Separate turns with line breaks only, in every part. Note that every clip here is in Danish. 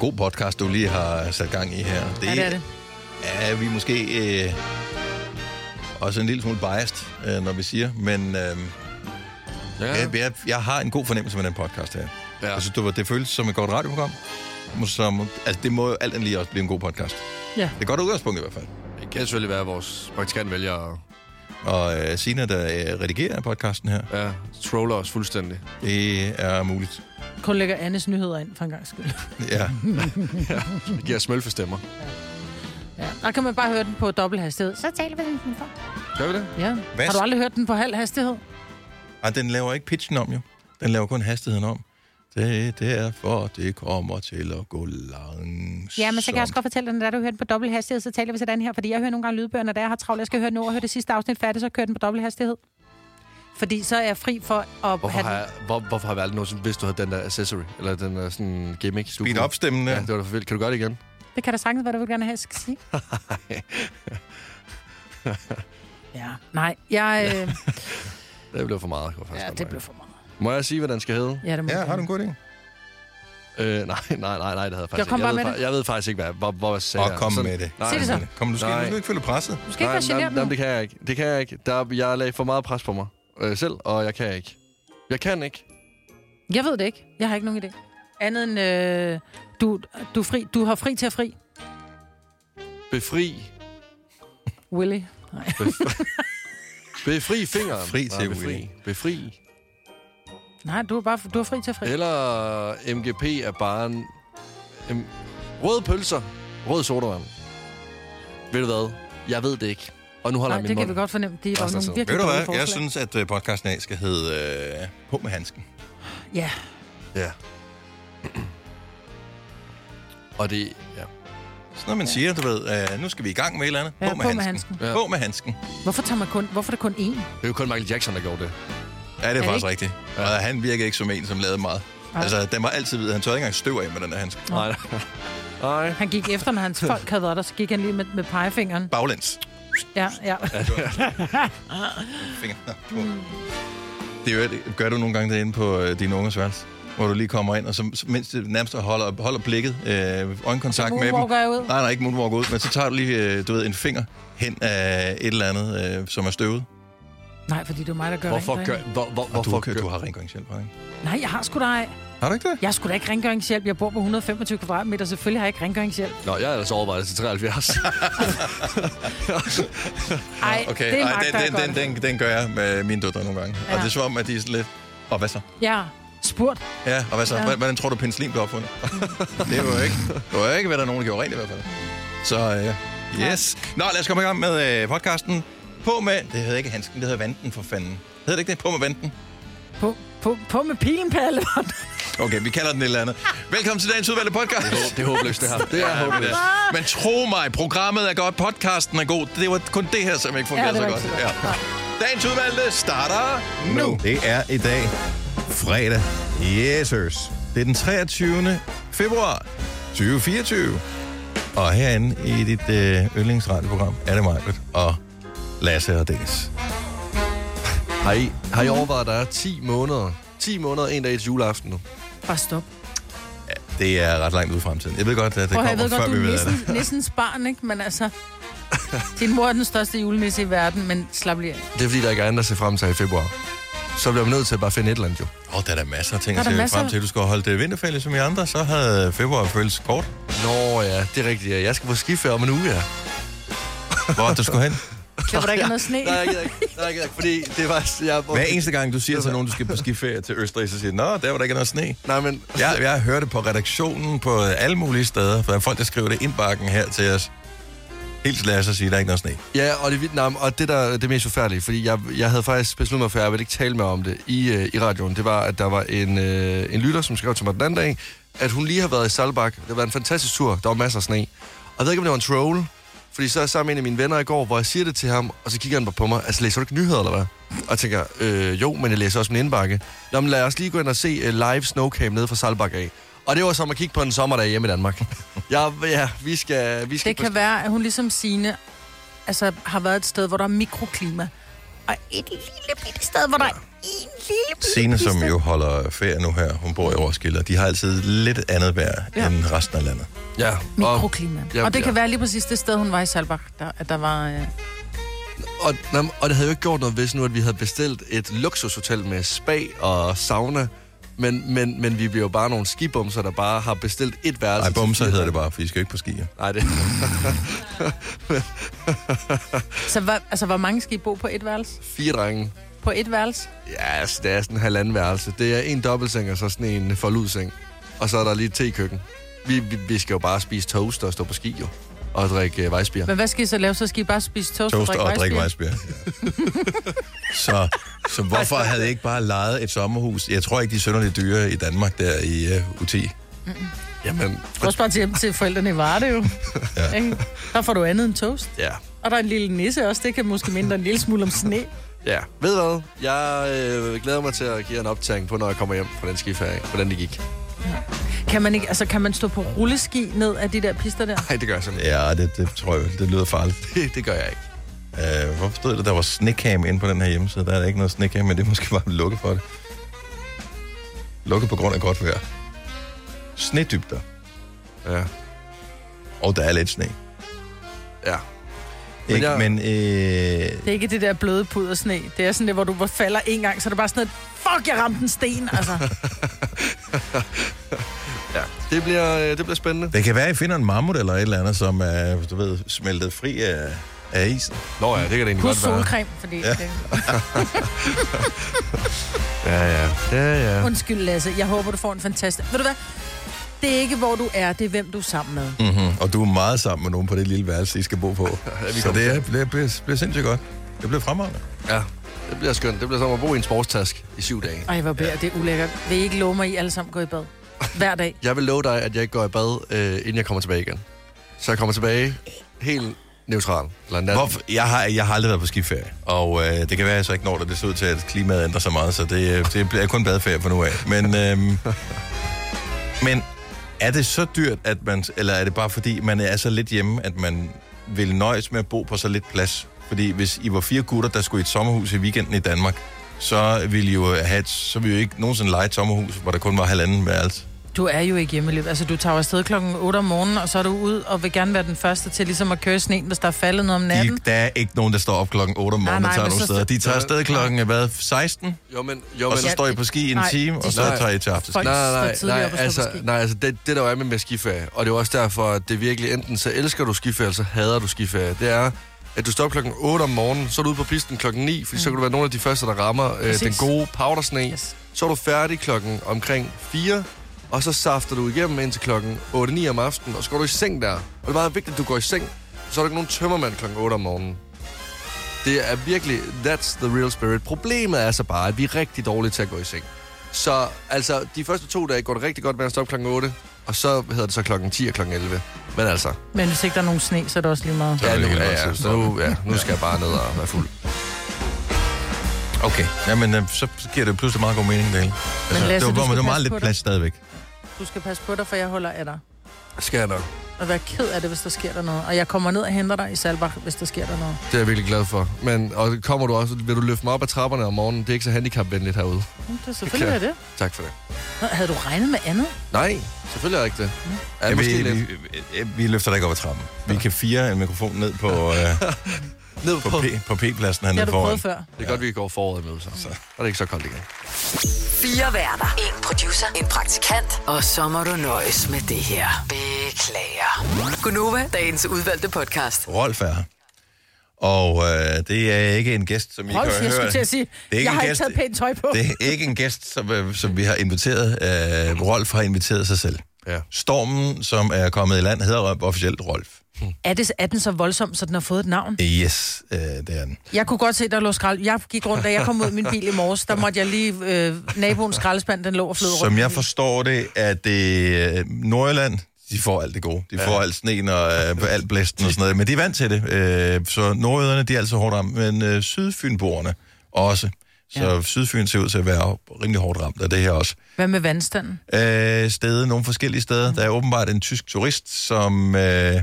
god podcast, du lige har sat gang i her.
Ja, det er det.
er vi måske øh, også en lille smule biased, øh, når vi siger, men øh,
Ja.
jeg, jeg, jeg har en god fornemmelse med den podcast her.
Ja.
Jeg synes, det, var, det føles som et godt radioprogram. Som, altså, det må jo alt andet lige også blive en god podcast.
Ja.
Det er et godt udgangspunkt i hvert fald.
Det kan selvfølgelig være, at vores praktikant vælger at
Og øh, Sina, der øh, redigerer podcasten her,
ja, trolle os fuldstændig.
det er muligt.
Kun lægger Annes nyheder ind for en gang skyld.
Ja.
Det giver smølfe stemmer.
Ja. Der kan man bare høre den på dobbelt hastighed. Så taler vi den for.
Gør vi det?
Ja.
Hvad?
Har du aldrig hørt den på halv hastighed?
Ej, den laver ikke pitchen om, jo. Den laver kun hastigheden om. Det er derfor, det kommer til at gå langsomt.
Ja, men så kan jeg også godt fortælle dig, når du hører den på dobbelt hastighed, så taler vi sådan her, fordi jeg hører nogle gange lydbøger, når der har travlt, jeg skal høre den over og høre det sidste afsnit færdigt, så kører den på dobbelt hastighed.
Fordi så er jeg fri for at
Hvorfor
have
har,
den-
jeg, hvor, hvorfor har vi aldrig nogensinde vidst, du havde den der accessory? Eller den der sådan gimmick? Du
Speed
kunne-
up stemmen
Ja,
der.
det var da for vildt. Kan du gøre det igen?
Det kan da sagtens være, du vil gerne have, jeg skal sige.
Ja. Nej, jeg... Øh...
Det blev for meget. Kunne jeg faktisk
ja,
godt
det
mærke.
blev for meget.
Må jeg sige, hvad den skal hedde?
Ja, det må
Ja,
jeg
har du
gerne.
en god idé?
Øh, nej, nej, nej, nej, det havde jeg faktisk
kom
ikke.
bare
jeg, ved,
med
fa- jeg ved faktisk ikke, hvad, hvor, hvor jeg sagde.
Og
jeg.
kom
Sådan-
med det.
Nej,
Sig det så.
Kom, du skal, du
Nej.
skal ikke føle presset.
Du skal ikke være
nej,
generet
nej,
nu.
det kan jeg ikke. Det kan jeg ikke. Der, jeg lagde for meget pres på mig øh, selv, og jeg kan ikke. Jeg kan ikke.
Jeg ved det ikke. Jeg har ikke nogen idé. Andet end, øh, du, du, er fri, du har fri til at fri.
Befri.
Willy.
Befri fingeren.
Fri til
Nej, befri.
Willy.
Befri.
Nej, du er, bare, du er fri til at fri.
Eller øh, MGP er bare en... en røde pølser. Rød sodavand. Ved du hvad? Jeg ved det ikke. Og nu holder
Nej,
jeg min
det kan
mund.
vi godt fornemme.
Resten
Det var
af
nogle
tiden.
virkelig
Ved du
dårlige
hvad? Jeg
forslag.
synes, at øh, podcasten i dag skal hedde øh, På med handsken.
Ja,
Ja. Og det... Ja.
Sådan noget, man siger, du ved, øh, nu skal vi i gang med et eller andet.
Ja,
på med
på med
handsken.
handsken. Ja.
På med handsken.
hvorfor, tager man kun, hvorfor er det kun én?
Det er jo kun Michael Jackson, der gjorde det.
Ja, det er,
det
faktisk
ikke?
rigtigt. Og han virkede ikke som en, som lavede meget.
Nej.
Altså, den var altid hvid. Han tørrede ikke engang støv af med den der handske.
Nej. Nej.
Han gik efter, når hans folk havde været der, så gik han lige med, med pegefingeren.
Baglæns.
Ja, ja.
Finger. Nå, på. Det er jo, et- gør du nogle gange det inde på øh, dine unges værelse? Hvor du lige kommer ind, og så, så mens du nærmest holder, holder blikket, øh, øjenkontakt med dem.
Moonwalker jeg ud.
Nej, nej, ikke moonwalk ud, men så tager du lige, øh, du ved, en finger hen af et eller andet, øh, som er støvet.
Nej, fordi det er mig, der gør
Hvorfor
rengøring.
gør... Hvor, hvor,
Og du,
hvorfor
har,
gør...
kø- du har rengøringshjælp, har du ikke?
Nej, jeg har sgu da ej.
Har du ikke det?
Jeg har sgu da ikke rengøringshjælp. Jeg bor på 125 kvadratmeter. Selvfølgelig har jeg ikke rengøringshjælp.
Nå, jeg er altså overvejet til 73.
Ej, okay. det er
ej,
magt,
den, den, den,
den.
den, den gør jeg med mine døtre nogle gange. Ja. Og
Ja.
det er som om, at de er sådan lidt... Og hvad så?
Ja, spurgt.
Ja, og hvad så?
Ja.
Ja. Hvordan tror du, penicillin blev opfundet? det er jo ikke, det var jo ikke, hvad der er nogen, der gjorde rent i hvert fald. Så øh, yes. Nå, lad os komme i gang med øh, podcasten. På med... Det hedder ikke handsken, det hedder vanten for fanden. Hedder det ikke det? På med vanten.
På, på, på med pilen, Palle.
Okay, vi kalder den et eller andet. Velkommen til dagens udvalgte podcast.
det er håbløst, det her. Det er
Ja, men,
håbløst.
øh, Men tro mig, programmet er godt, podcasten er god. Det var kun det her, som ikke
Ja,
fungerede
det
så
var
godt.
ikke så
Ja.
godt.
Dagens udvalgte starter nu. Det er i dag fredag. Yesers. Det er den 23. februar 2024. Og herinde i dit øh, yndlingsradioprogram er det mig, og Lasse og Dennis.
Har I, har I overvejet, at der er 10 måneder? 10 måneder, en dag til juleaften nu.
Bare stop.
Det er ret langt ud i fremtiden. Jeg ved godt, at det
Prøv, at høre,
kommer,
jeg ved
før
godt, du
vi ved
er
af det.
nissen, nissens barn, ikke? Men altså... Din mor er den største julenisse i verden, men slap lige af.
Det er fordi, der ikke er andet at se frem til i februar. Så bliver man nødt til at bare finde et eller andet, jo.
Åh, oh, der er da masser af ting
Der
at
er der
se
masser.
frem til. Du skal holde det vinterferie som i andre, så havde februar føltes kort.
Nå ja, det er rigtigt. ja. Jeg skal på skiferie om en uge, ja.
Hvor er det, du skulle hen?
Der var der ikke noget sne.
Nej, jeg gider ikke. Nej, jeg gider ikke. Fordi det var... Jeg,
Hver eneste gang, du siger til nogen, du skal på skiferie til Østrig, så siger de, Nå, der var der ikke noget sne.
Nej, men...
Jeg, jeg hører det på redaktionen på alle mulige steder, for der er folk, der skriver det indbakken her til os. Helt lad os sige, der er ikke noget sne.
Ja, og det, Vietnam, og det der er det mest forfærdelige, fordi jeg, jeg havde faktisk besluttet mig for, at jeg ville ikke tale med om det i, øh, i radioen, det var, at der var en, øh, en lytter, som skrev til mig den anden dag, at hun lige har været i Salbak. Det var en fantastisk tur. Der var masser af sne. Og jeg ved ikke, om det var en troll, fordi så er jeg sammen med en af mine venner i går, hvor jeg siger det til ham, og så kigger han bare på mig. Altså, læser du ikke nyheder, eller hvad? Og jeg tænker, øh, jo, men jeg læser også min indbakke. Nå, men lad os lige gå ind og se uh, live snowcam nede fra Salbak af. Og det var som at kigge på en sommerdag hjemme i Danmark. ja, ja, vi skal... Vi skal
Det
på
kan være, at hun ligesom Signe altså, har været et sted, hvor der er mikroklima. Og et lille bitte sted, hvor der er en
lille
Sine, som jo holder ferie nu her, hun bor i Roskilde, og de har altid lidt andet vejr ja. end resten af landet.
Ja, og,
Mikroklima.
Ja,
Ja, og det
ja.
ja. kan være lige præcis det sted, hun var i Salbach, der, at der var... Øh...
og, nej, men- og det havde jo ikke gjort noget, hvis nu, at vi havde bestilt et luksushotel med spa og sauna, men, men, men vi bliver jo bare nogle skibumser, der bare har bestilt et værelse.
Ej,
til
bumser
fire.
hedder det bare, for I skal jo ikke på skier.
Nej, det
Så hvor, altså, hvor mange skal I bo på et værelse?
fire drenge.
På et værelse?
Ja, yes, det er sådan en halvanden værelse. Det er en dobbeltseng og så sådan en forludseng. Og så er der lige et tekøkken. Vi, vi, vi skal jo bare spise toast og stå på ski jo. Og drikke øh, vejsbier.
Men hvad skal I så lave? Så skal I bare spise toast,
Toast og drikke
vejsbier?
vejsbjerg. så, så hvorfor havde I ikke bare lejet et sommerhus? Jeg tror ikke, de er synderligt dyre i Danmark der i uh, UT.
Jamen,
Du kan også bare til hjem til forældrene i Varde jo. ja. Der får du andet end toast.
ja.
Og der er en lille nisse også, det kan måske mindre en lille smule om sne.
Ja, ved du hvad? Jeg øh, glæder mig til at give jer en optagning på, når jeg kommer hjem fra den skiferie. Hvordan det gik.
Kan man, ikke, altså, kan man stå på rulleski ned af de der pister der?
Nej, det gør jeg simpelthen
Ja, det, det tror jeg, det lyder farligt.
ikke. det gør jeg ikke.
Uh, hvorfor stod der, der var snecam inde på den her hjemmeside? Der er der ikke noget snecam, men det er måske bare lukket for det. Lukket på grund af godt vejr. Snedybder.
Ja.
Og der er lidt sne.
Ja. Men
Ikke,
jeg-
men øh,
Det er ikke det der bløde pudersne. Det er sådan det, hvor du falder en gang, så er det bare sådan et, fuck, jeg ramte en sten, altså.
ja. Det, bliver, øh, det bliver spændende.
det kan være, at I finder en mammut eller et eller andet, som er, du ved, smeltet fri af, af isen.
Nå ja, det kan det egentlig
Plus
godt være.
solcreme, fordi... Ja. Det...
Ja, ja. Ja, ja.
Undskyld, Lasse. Jeg håber, du får en fantastisk... Ved du hvad? Det er ikke, hvor du er, det er, hvem du er sammen med.
Mm-hmm. Og du er meget sammen med nogen på det lille værelse, I skal bo på.
Mhm. vi
så
kommer
det er, bliver, bliver, bliver sindssygt godt. Det bliver fremragende.
ja. Det bliver skønt. Det bliver som at bo i en sportstask i syv dage.
Ej, hvor bærer det er ulækkert. Vil I ikke love mig, at I alle sammen går i bad? Hver dag.
Jeg vil love dig, at jeg ikke går i bad, øh, inden jeg kommer tilbage igen. Så jeg kommer tilbage helt neutral. Eller nat.
Hvorfor? Jeg, har, jeg har aldrig været på skiferie, og øh, det kan være, at jeg så ikke når det. Det ser ud til, at klimaet ændrer sig meget, så det, øh, det bliver kun badeferie fra nu af. Men, øh, men er det så dyrt, at man, eller er det bare fordi, man er så lidt hjemme, at man vil nøjes med at bo på så lidt plads? Fordi hvis I var fire gutter, der skulle i et sommerhus i weekenden i Danmark, så ville I jo, have et, så ville I jo ikke nogensinde lege et sommerhus, hvor der kun var halvanden værelse.
Du er jo ikke hjemme i løbet. Altså, du tager jo afsted klokken 8 om morgenen, og så er du ud og vil gerne være den første til ligesom at køre i sneen, hvis der er faldet noget om
I,
natten.
der er ikke nogen, der står op klokken 8 om morgenen
nej,
og tager
men
nogen
så-
steder. De tager afsted klokken hvad, 16?
Jo, men, jo,
Og
men,
så
Ja,
står I
det-
på ski i en
nej,
time, og
de-
så
Nej.
tager I til aften.
Folk-
Nej, nej,
stå tidligere
nej,
op og stå på
altså,
ski.
nej, altså det, det der jo er med, med skiferie, og det er jo også derfor, at det virkelig enten så elsker du skiferie, eller så hader du skiferie, det er, at du står op klokken 8 om morgenen, så er du ude på pisten klokken 9, fordi mm. så kan du være nogle af de første, der rammer øh, den
Præcis.
gode powdersne. Yes.
Yes.
Så er du færdig klokken omkring 4, og så safter du igennem indtil klokken 8-9 om aftenen, og så går du i seng der. Og det er meget vigtigt, at du går i seng, så er der ikke nogen tømmermand klokken 8 om morgenen. Det er virkelig, that's the real spirit. Problemet er så bare, at vi er rigtig dårlige til at gå i seng. Så altså, de første to dage går det rigtig godt med at stoppe klokken 8, og så hedder det så klokken 10 og klokken 11. Men altså,
Men hvis ikke der er nogen sne, så er det også lige meget.
er
ja,
det
nu,
ikke
ja,
noget
ja,
tid.
så nu, ja, nu skal jeg bare ned og være fuld.
Okay, jamen øh, så giver det pludselig meget god mening, det hele. Altså,
Lasse,
det
du
var, det
skal
var meget
passe
lidt
på dig.
plads stadigvæk.
Du skal passe på dig, for jeg holder af dig.
Skal jeg nok.
Og vær ked af det, hvis der sker der noget. Og jeg kommer ned og henter dig i Salbach, hvis der sker der noget.
Det er jeg virkelig glad for. Men og kommer du også, vil du løfte mig op ad trapperne om morgenen? Det er ikke så handicapvenligt herude.
Jamen, Mm, Det er selvfølgelig okay. det.
Tak for det.
Nå, Havde du regnet med andet?
Nej, selvfølgelig er jeg ikke det. Ja,
Ja, vi,
måske
vi,
lidt.
vi, vi løfter dig ikke op ad trappen. Vi kan fire en mikrofon ned på, øh,
Ned
på,
på. Det
P, på P-pladsen
Det har
hernede
du prøvet
foran.
før.
er godt, vi går foråret med, så. så er det ikke så koldt igen.
Fire værter. En producer. En praktikant. Og så må du nøjes med det her. Beklager. Gunova, dagens udvalgte podcast.
Rolf er her. Og øh, det er ikke en gæst, som I
Rolf,
kan
jeg
høre.
skulle til at sige,
det er ikke
jeg
en
har ikke
gæst,
taget pænt tøj på.
Det er ikke en gæst, som, øh, som vi har inviteret. Øh, Rolf har inviteret sig selv.
Ja.
Stormen, som er kommet i land, hedder officielt Rolf.
Er, det, er den så voldsom, så den har fået et navn?
Yes, øh, det er den.
Jeg kunne godt se, der lå skrald. Jeg gik rundt, da jeg kom ud af min bil i morges. Der måtte jeg lige... Øh, naboens skraldespand, den lå og flød rundt.
Som jeg forstår det, at det øh, Nordjylland, de får alt det gode. De får alt sneen og øh, alt blæsten og sådan noget, men de er vant til det. Øh, så nordjyderne, de er altså hårdt ramt, men øh, sydfynboerne også. Så ja. Sydfyn ser ud til at være rimelig hårdt ramt af det her også.
Hvad med vandstanden?
Øh, steder, nogle forskellige
Mm.
steder. Der er åbenbart en tysk turist, som... Øh,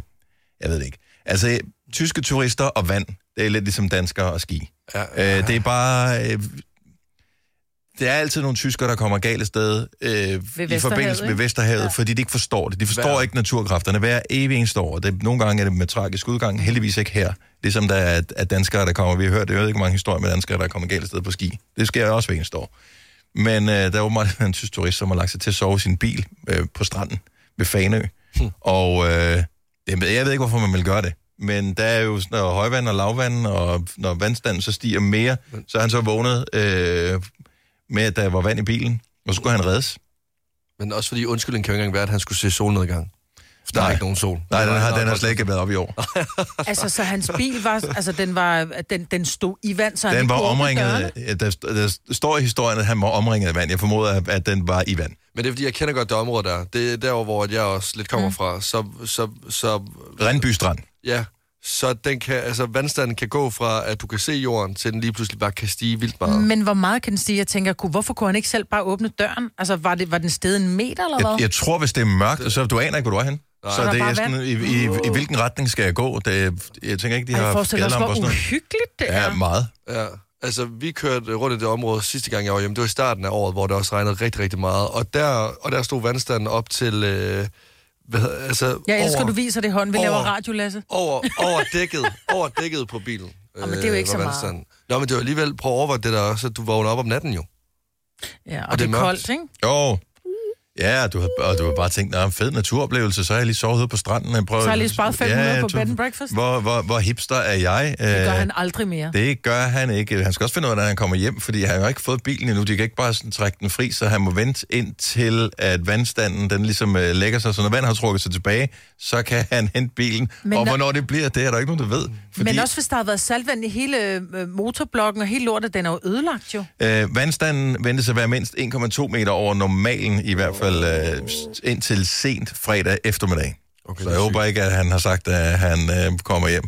jeg ved det ikke. Altså, øh, tyske turister og vand, det er lidt ligesom danskere og ski.
Ja,
Øh, det er bare... Øh, der er altid nogle tyskere, der kommer galt af sted øh, i
Vesterhavet,
forbindelse med
ikke?
Vesterhavet, ja. fordi de ikke forstår det. De forstår
Hver-
ikke naturkræfterne hver evig eneste år. Det, nogle gange er det med tragisk udgang, heldigvis ikke her. Ligesom der er, er danskere, der kommer. Vi har hørt, jeg ved ikke, hvor mange historier med danskere, der kommer galt af sted på ski. Det sker også hver eneste år. Men øh, der er åbenbart en tysk turist, som har lagt sig til at sove i sin bil øh, på stranden ved Fanø. Og øh, jeg ved jeg ved ikke, hvorfor man vil gøre det. Men der er jo sådan noget højvand og lavvand, og når vandstanden så stiger mere, så er han så vågnet øh, med, at der var vand i bilen, og så skulle han reddes.
Men også fordi undskyldningen kan jo ikke engang være, at han skulle se solnedgang. For der
Nej.
er ikke nogen sol.
Nej, den har,
Nej,
den har
nej,
slet ikke været op i år.
Altså, så hans bil var... Altså, den, var, den, den stod i vand, så han
Den
ikke
var
kunne åbne
omringet,
dørene.
ja, der, der står i historien, at han var omringet af vand. Jeg formoder, at den var i vand.
Men det er fordi, jeg kender godt det område der. Det er derovre, hvor jeg også lidt kommer fra. Så, så, så,
Rendby Strand.
ja, så den kan, altså, vandstanden kan gå fra, at du kan se jorden, til den lige pludselig bare kan stige vildt meget.
Men hvor meget kan den stige? Jeg tænker, kunne- hvorfor kunne han ikke selv bare åbne døren? Altså, var, det, var den stedet en meter, eller hvad?
Jeg, jeg tror, hvis det er mørkt, så du aner ikke, hvor du er henne.
Så
Så
der
det
bare
er sådan, i, i, i, i hvilken retning skal jeg gå? Det, jeg tænker ikke, de
Ej,
har
jeg forestiller mig,
gadelamper og
også,
sådan
hvor
noget.
uhyggeligt det er.
Ja, meget.
Ja, altså vi kørte rundt i det område sidste gang, jeg var hjemme. Det var i starten af året, hvor det også regnede rigtig, rigtig meget. Og der, og der stod vandstanden op til... Øh, hvad, hedder- altså,
Jeg elsker,
over,
du viser det i hånden. Vi laver
over-
radio, Lasse.
Over, over dækket, over dækket på bilen.
men det er jo ikke
var
så meget.
vandstanden. Nå, men det var alligevel, prøv at overveje det der også, at du vågner op om natten jo.
Ja,
det
og, det
er
er
mørkt.
koldt, ikke?
Jo. Ja, du har, og du har bare tænkt, en fed naturoplevelse, så har jeg lige sovet ude på stranden. Jeg prøver,
Så har jeg lige sparet 500 på
du-
bed and breakfast.
Hvor, hvor, hvor hipster er jeg? Øh,
Det gør han aldrig mere.
Det gør han ikke. Han skal også finde ud af, når han kommer hjem, fordi han har ikke fået bilen endnu. De kan ikke bare sådan trække den fri, så han må vente indtil, at vandstanden den ligesom øh, lægger sig. Så når vand har trukket sig tilbage, så kan han hente bilen. Men
Men
og
når-
hvornår det bliver, det er der ikke nogen, der ved. Fordi
Men også hvis der har været saltvand i hele øh, motorblokken og hele lortet, den er jo ødelagt jo.
øh, vandstanden ventes at være mindst 1,2 meter over normalen, i hvert fald øh, s- indtil sent fredag eftermiddag. Okay, så jeg håber ikke, at han har sagt, at han øh, kommer hjem.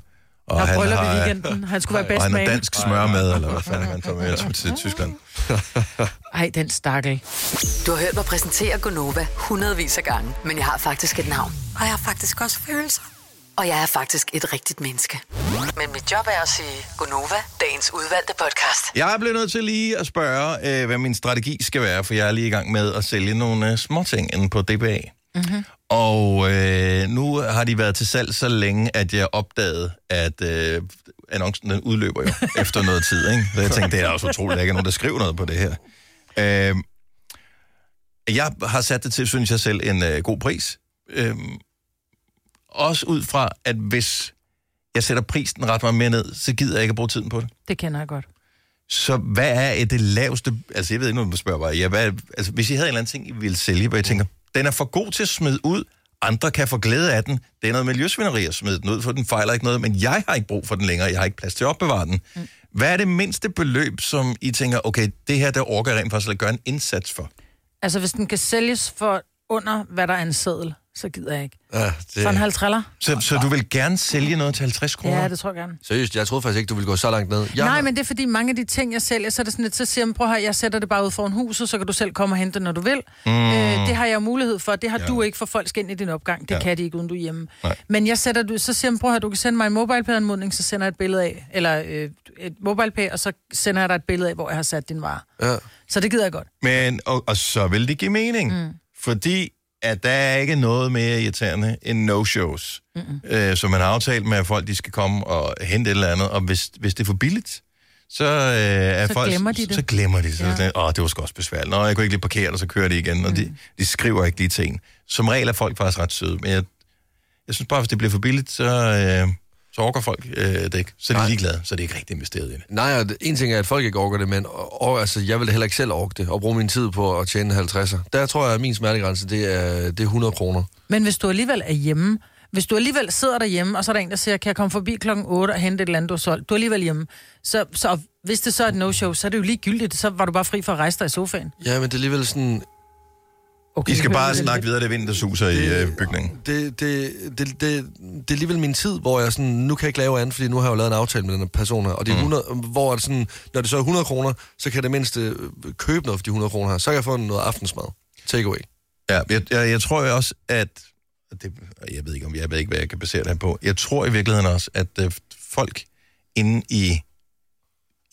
Og
Der er bryllup i
øh,
weekenden. Han skulle være
og
bedst
han
med.
har dansk smør med, eller hvad fanden han tager med til- til Tyskland.
Ej, den stakkel.
Du har hørt mig præsentere Gonova hundredvis af gange, men jeg har faktisk et navn. Og jeg har faktisk også følelser. Og jeg er faktisk et rigtigt menneske. Men mit job er at sige Gonova, dagens udvalgte podcast.
Jeg blev nødt til lige at spørge, øh, hvad min strategi skal være, for jeg er lige i gang med at sælge nogle øh, småting inde på DBA. Mm-hmm. Og øh, nu har de været til salg så længe, at jeg opdagede, at øh, annoncen den udløber jo efter noget tid. Ikke? Så jeg tænkte, det er også utroligt, at der ikke er nogen, der skriver noget på det her. Øh, jeg har sat det til, synes jeg selv, en øh, god pris. Øh, også ud fra, at hvis jeg sætter prisen ret meget mere ned, så gider jeg ikke at bruge tiden på det.
Det kender jeg godt.
Så hvad er øh, det laveste... Altså, jeg ved ikke, om du spørger bare. Ja, hvad, er- altså, hvis I havde en eller anden ting, I ville sælge, hvor jeg tænker, den er for god til at smide ud, andre kan få glæde af den. Det er noget miljøsvineri at smide den ud, for den fejler ikke noget, men jeg har ikke brug for den længere. Jeg har ikke plads til at opbevare den. Mm. Hvad er det mindste beløb, som I tænker, okay, det her, der orker jeg rent faktisk at gøre en indsats for?
Altså, hvis den kan sælges for under, hvad der er en seddel, så gider jeg ikke.
Ja,
For en
det,
halv triller?
Så, så du vil gerne sælge noget til 50 kroner?
Ja, det tror jeg gerne.
seriøst, jeg troede faktisk ikke, du ville gå så langt ned. Jeg,
Nej, men det er fordi mange af de ting, jeg sælger, så er det sådan lidt, så siger man, prøv her, jeg sætter det bare ud foran huset, så kan du selv komme og hente det, når du vil. Mm. Øh, det har jeg jo mulighed for, det har ja. du ikke, for folk skal ind i din opgang. Det ja. kan de ikke, uden du er hjemme.
Nej.
Men jeg sætter det, så siger man, prøv her, du kan sende mig en mobilepay-anmodning, så sender jeg et billede af, eller øh, et mobilepay, og så sender jeg dig et billede af, hvor jeg har sat din vare.
ja,
Så det gider jeg godt.
Men, og, og så vil det give mening, mm. fordi at der er ikke noget mere irriterende end no-shows, øh, som man har aftalt med, at folk de skal komme og hente et eller andet, og hvis, hvis det er for billigt, så, øh, er
Så
folk,
glemmer de det.
Så glemmer de det.
Ja.
Ja. Åh, det var sgu også besværligt. Nå, jeg kunne ikke lige parkere, og så kører de igen, og mm. de, de skriver ikke lige til en. Som regel er folk faktisk ret søde, men jeg, jeg synes bare, hvis det bliver for billigt, så, øh, så orker folk øh, det ikke. Så er de ligeglade, så er det ikke rigtig investeret i det.
nej, og det- en ting er, at folk ikke orker det, men og, og, altså, jeg ville heller ikke selv orke det, og bruge min tid på at tjene 50'er. Der tror jeg, at min smertegrænse, det er, det er 100 kroner.
Men hvis du alligevel er hjemme, hvis du alligevel sidder derhjemme, og så er der en, der siger, kan jeg komme forbi klokken 8 og hente et eller andet, du har solgt, du er alligevel hjemme, så, så og hvis det så er et no-show, så er det jo ligegyldigt, så var du bare fri for at rejse dig i sofaen.
Ja, men det er alligevel sådan,
Okay,
I skal
det
bare
hører lidt-
snakke videre, det er vinden, der suser i øh, bygningen.
det, det, det, det, det er alligevel min tid, hvor jeg sådan, nu kan jeg ikke lave andet, fordi nu har jeg jo lavet en aftale med den her person her, og det er 100, hvor det sådan, når det så er 100 kroner, så kan jeg det mindste øh, købe noget for de 100 kroner her, så kan jeg få noget aftensmad. Takeaway.
Ja, jeg, jeg, jeg tror jo også, at... Det, jeg ved ikke, om jeg ved ikke, hvad jeg kan basere det her på. Jeg tror i virkeligheden også, at øh, folk inde i